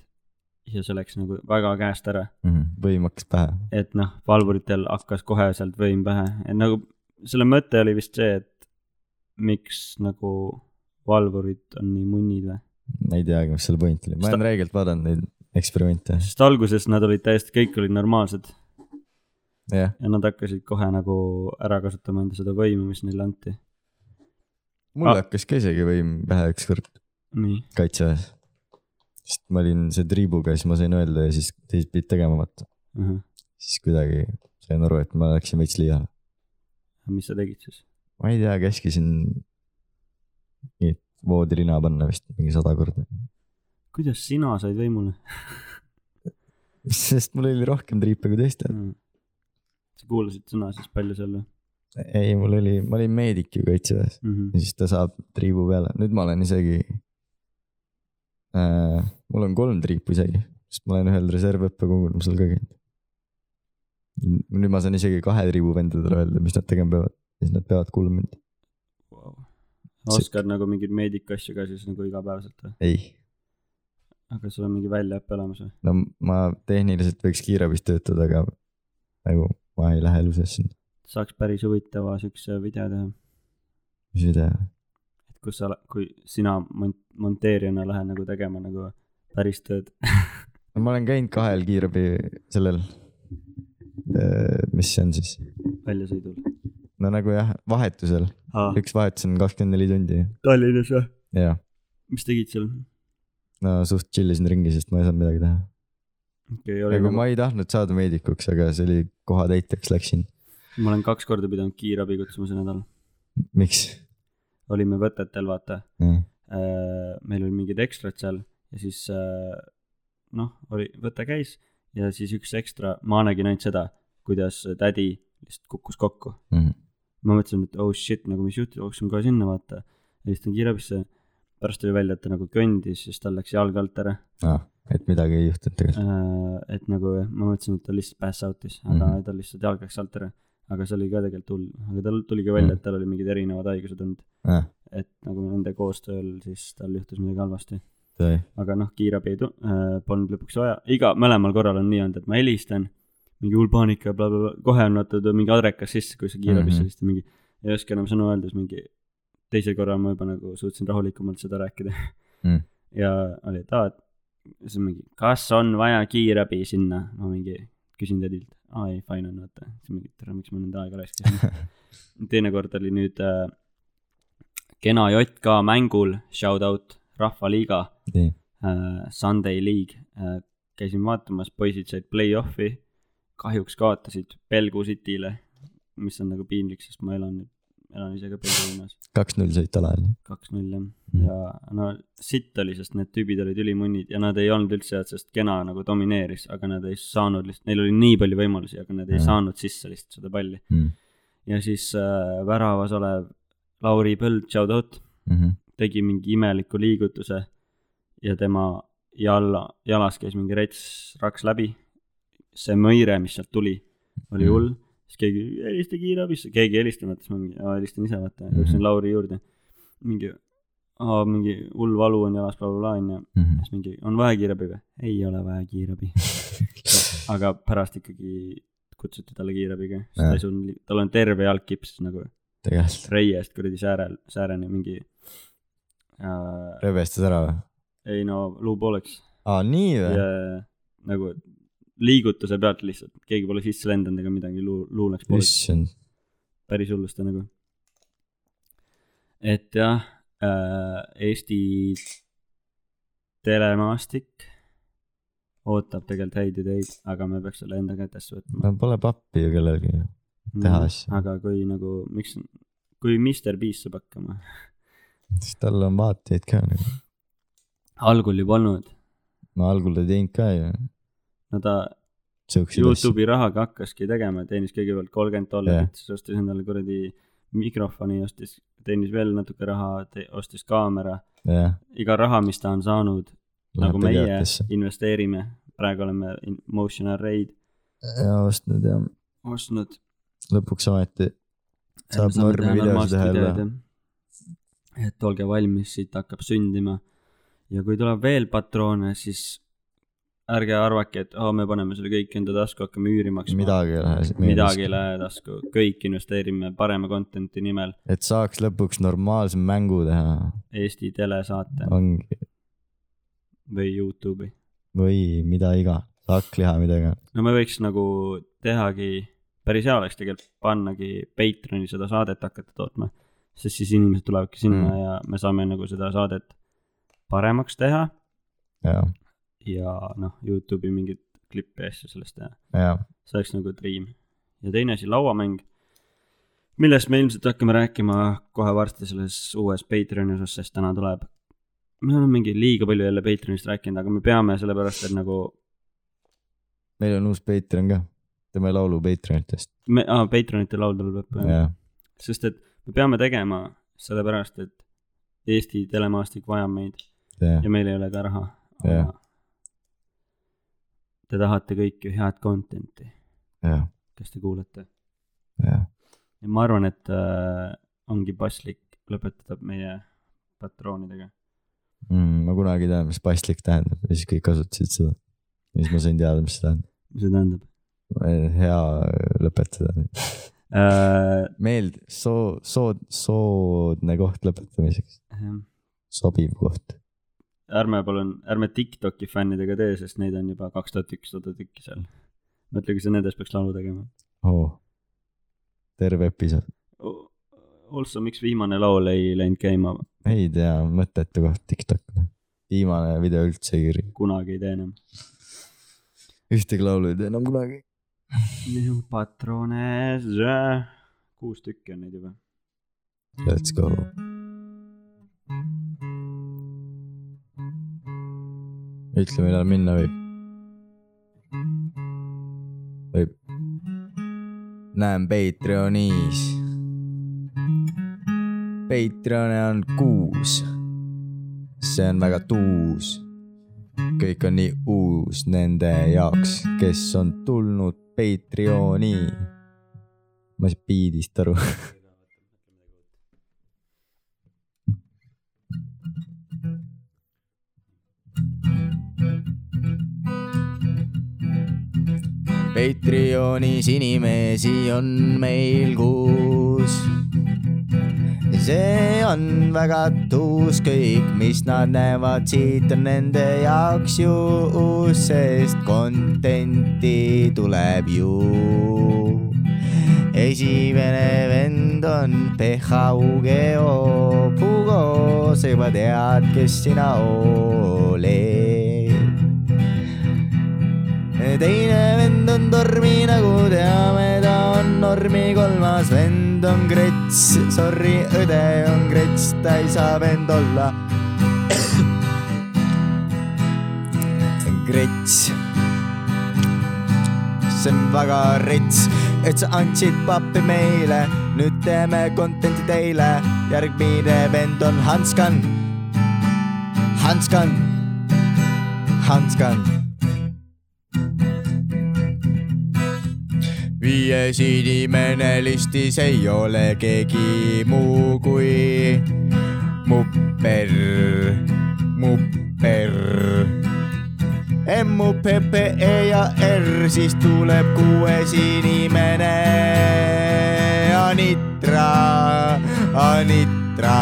B: ja see läks nagu väga käest ära
A: mm -hmm. võim hakkas pähe
B: et noh , valvuritel hakkas kohe sealt võim pähe , et nagu selle mõte oli vist see , et miks nagu valvurid on nii munnid või ,
A: ma ei teagi , mis selle point oli , ma olen
B: Sta-
A: reegelt vaadanud neid eksperimente ,
B: sest alguses nad olid täiesti , kõik olid normaalsed
A: jah .
B: ja nad hakkasid kohe nagu ära kasutama enda seda võimu , mis neile anti .
A: mul
B: Ah.
A: hakkas ka isegi võim pähe ükskord
B: nii ,
A: kaitseväes . sest ma olin see triibuga , siis ma sain öelda ja siis teised pidid tegema , vaata . siis kuidagi sain aru , et ma läksin veits liiale .
B: mis sa tegid siis ?
A: ma ei tea , käskisin mingit voodilina panna vist mingi sada korda .
B: kuidas sina said võimule ?
A: sest mul oli rohkem triipe kui teistel .
B: sa kuulasid sõna siis palju seal või
A: ei , mul oli , ma olin meedik ju kaitseväes .
B: mm ? -hmm.
A: ja siis ta saab triibu peale , nüüd ma olen isegi äh, . mul on kolm triipu isegi , sest ma olen ühel reservõppekogunemisel ka käinud . nüüd ma saan isegi kahe triibu vendadele öelda , mis nad tegema peavad , siis nad peavad kuulma mind .
B: Wow. oskad nagu mingeid meediku asju ka siis nagu igapäevaselt või ?
A: ei ,
B: aga sul on mingi väljaõpe olemas või ?
A: no ma tehniliselt võiks kiirabis töötada , aga nagu ma ei lähe elusesse sinna ,
B: saaks päris huvitava siukse video teha ,
A: mis video .
B: et kus sa , kui sina mont- , monteerijana lähed nagu tegema nagu päris tööd .
A: no ma olen käinud kahel kiirabi sellel , mis see on siis ,
B: väljasõidul .
A: no nagu jah , vahetusel , üks vahetus on kakskümmend neli tundi
B: Tallinnas või ?
A: ja
B: mis tegid seal ?
A: no suht chill isin ringi , sest ma ei saanud midagi teha .
B: okei , oli
A: nagu
B: nagu ,
A: ma ei tahtnud saada meedikuks , aga see oli kohatäitjaks läksin .
B: ma olen kaks korda pidanud kiirabi kutsuma see nädal .
A: miks ?
B: olime võtetel , vaata .
A: ja
B: Äh, meil olid mingid ekstrad seal ja siis äh, noh , oli , võte käis ja siis üks ekstra , ma nägin ainult seda , kuidas tädi lihtsalt kukkus kokku . ma mõtlesin , et oh shit , nagu mis juhtus , jooksin kohe sinna vaata . helistan kiirabisse , pärast tuli välja , et ta nagu kõndis , siis tal läks jalg alt ära .
A: et midagi ei juhtunud tegelikult .
B: et nagu jah , ma mõtlesin , et ta lihtsalt pass out'is , aga mm
A: Mhm.
B: -hmm. tal lihtsalt jalg läks alt ära . aga see oli ka tegelikult hull , aga tal tuli ka välja , et tal oli mingid erinevad haigused olnud , et nagu nende koostööl siis tal juhtus midagi halvasti . aga noh , kiirabi ei tu- , polnud lõpuks vaja , iga , mõlemal korral on nii olnud , et ma helistan , mingi hull paanika , kohe on vaata , tuleb mingi adrekas sisse , kui sa kiirabisse mm
A: Mhm.
B: -hmm. helistad , mingi ei oska enam sõnu öelda , siis mingi teisel korral ma juba nagu suutsin rahulikumalt seda rääkida
A: Mm.
B: ja oli , et aa , et siis on mingi , kas on vaja kiirabi sinna , ma mingi küsin tädilt , aa ei , fine on , vaata , siis mingi , et tere, miks ma nende aega raiskasin . teinekord oli nüüd äh, kena JK mängul , shout out , Rahvaliiga
A: nii ,
B: äh, Sunday League äh, , käisin vaatamas , poisid said play-off'i , kahjuks kaotasid Belgu City'le , mis on nagu piinlik , sest ma elan nüüd elan ise ka Pelgulinnas ,
A: kaks-null sõit alani .
B: kaks-null jah .
A: Mhm.
B: ja no sitt oli , sest need tüübid olid ülimunnid ja nad ei olnud üldse head , sest Kena nagu domineeris , aga nad ei saanud lihtsalt , neil oli nii palju võimalusi , aga nad ei
A: Mhm.
B: saanud sisse lihtsalt seda palli .
A: Mm
B: ja siis äh, väravas olev Lauri Põld , shout out ,
A: -hmm.
B: tegi mingi imeliku liigutuse ja tema jala , jalas käis mingi rets , raks läbi . see mõire , mis sealt tuli , oli
A: Mhm.
B: hull , siis keegi , helista kiirabisse , keegi ei helistanud , siis ma mingi , helistan ise , vaata ,
A: Mhm.
B: jooksin Lauri juurde . mingi , mingi hull valu on jalas , blablabla onju ,
A: Mm -hmm.
B: siis mingi , on vaja kiirabi või ? ei ole vaja kiirabi , aga pärast ikkagi kutsuti talle kiirabiga , sest ta
A: Jah.
B: ei suutnud , tal on terve jalg kipsis nagu
A: tegelikult
B: reiest kuradi säärel , sääreni mingi äh,
A: rebestas ära või ?
B: ei no luu pooleks
A: aa , nii või
B: ja nagu liigutuse pealt lihtsalt , keegi pole sisse lendanud ega midagi , luu , luu läks
A: yeah. ?
B: pooleks ,
A: issand ,
B: päris hullusti nagu . et jah äh, , Eesti telemaastik ootab tegelikult häid ideid , aga me peaks selle enda kätesse võtma .
A: no pole pappi ju kellelgi . teha asju.
B: aga kui nagu , miks , kui Mr Beast saab hakkama ,
A: siis tal on vaatajaid ka nagu .
B: algul juba olnud ,
A: no algul ta ei teinud ka ju
B: no ta
A: siukseid asju .
B: Youtube'i rahaga hakkaski tegema , teenis kõigepealt kolmkümmend dollarit , siis ostis endale kuradi mikrofoni , ostis , teenis veel natuke raha , ostis kaamera .
A: jah ,
B: iga raha , mis ta on saanud , nagu
A: läheb
B: meie
A: tegijatesse .
B: investeerime , praegu oleme in- Motion Array'd
A: ja ostnud ja
B: ostnud .
A: lõpuks ometi saab normi videosid teha jälle .
B: et olge valmis , siit hakkab sündima . ja kui tuleb veel patroone , siis ärge arvake , et oh, me paneme selle kõik enda tasku , hakkame üüri maksma .
A: midagi ei lähe .
B: midagi ei . lähe tasku , kõik investeerime parema content'i nimel
A: et saaks lõpuks normaalse mängu teha ,
B: Eesti telesaate
A: ongi ,
B: või Youtube'i .
A: või mida iga , hakkliha , mida iga .
B: no me võiks nagu tehagi , päris hea oleks tegelikult pannagi Patreon'i seda saadet hakata tootma , sest siis inimesed tulevadki sinna
A: Mm.
B: mm. ja me saame nagu seda saadet paremaks teha
A: jah ,
B: ja noh , Youtube'i mingeid klippe ja asju sellest teha .
A: jah ,
B: see oleks nagu dream . ja teine asi , lauamäng , millest me ilmselt hakkame rääkima kohe varsti selles uues Patreoni osas , sest täna tuleb . me oleme mingi liiga palju jälle Patreonist rääkinud , aga me peame sellepärast , et nagu
A: meil on uus Patreon ka , teeme laulu Patreonitest ,
B: me ah, , Patreonite laul tuleb lõppu ,
A: jah .
B: sest et me peame tegema sellepärast , et Eesti telemaastik vajab meid
A: jah
B: ja , meil ei ole ka raha .
A: Jah.
B: Te tahate kõik ju head content'i ,
A: jah ,
B: kes te kuulate
A: jah ,
B: ja ma arvan , et äh, ongi paslik lõpetada meie patroonidega .
A: Mm, ma kunagi ei teadnud , mis paslik tähendab ja siis kõik kasutasid seda . ja siis ma sain teada , mis see tähendab ,
B: mis see tähendab
A: hea lõpetada .
B: äh, ?
A: meeld- , soo- , soo- , soodne koht lõpetamiseks ,
B: jah.
A: sobiv koht .
B: ärme palun , ärme Tiktoki fännidega tee , sest neid on juba kaks tuhat ükssada tükki seal . mõtle , kui sa nendes peaks laulu tegema .
A: oo , Oh. terve episood ,
B: Also , miks viimane laul ei läinud käima ,
A: ei tea , mõttetu koht Tiktok . viimane video üldse ei kiri ,
B: kunagi ei tee enam .
A: ühtegi laulu ei tee enam kunagi .
B: patroone , kuus tükki on neid juba .
A: Let's go . ütle , millal minna võib . võib . näen Patreonis . Patreone on kuus . see on väga tuus . kõik on nii uus nende jaoks , kes on tulnud Patreoni . ma ei saa biidist aru . Patreonis inimesi on meil kuus . see on väga tuus , kõik , mis nad näevad siit , on nende jaoks ju uus , sest content'i tuleb ju . esimene vend on PHUGO , Pugo , sa juba tead , kes sina oled . teine vend on Tormi , nagu teame , ta on Normi , kolmas vend on Krets , sorry , õde on Krets , ta ei saa vend olla . Krets , see on väga rets , et sa andsid pappi meile , nüüd teeme content'i teile , järgmine vend on Hanskan , Hanskan , Hanskan viies inimene listis ei ole keegi muu kui mupper , mupper . M-u P P E ja R , siis tuleb kuues inimene . Anitra , Anitra ,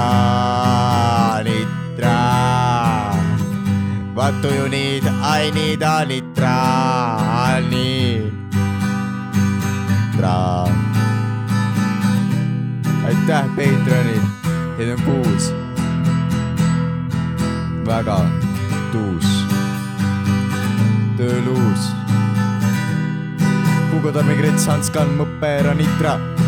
A: Anitra What do you need? I need a litra, litra. aitäh , Patreonid , teid on kuus . väga tuus , tööluus . Kuku Tormi , Krets , Hans Kann , Mõppe , Ranitra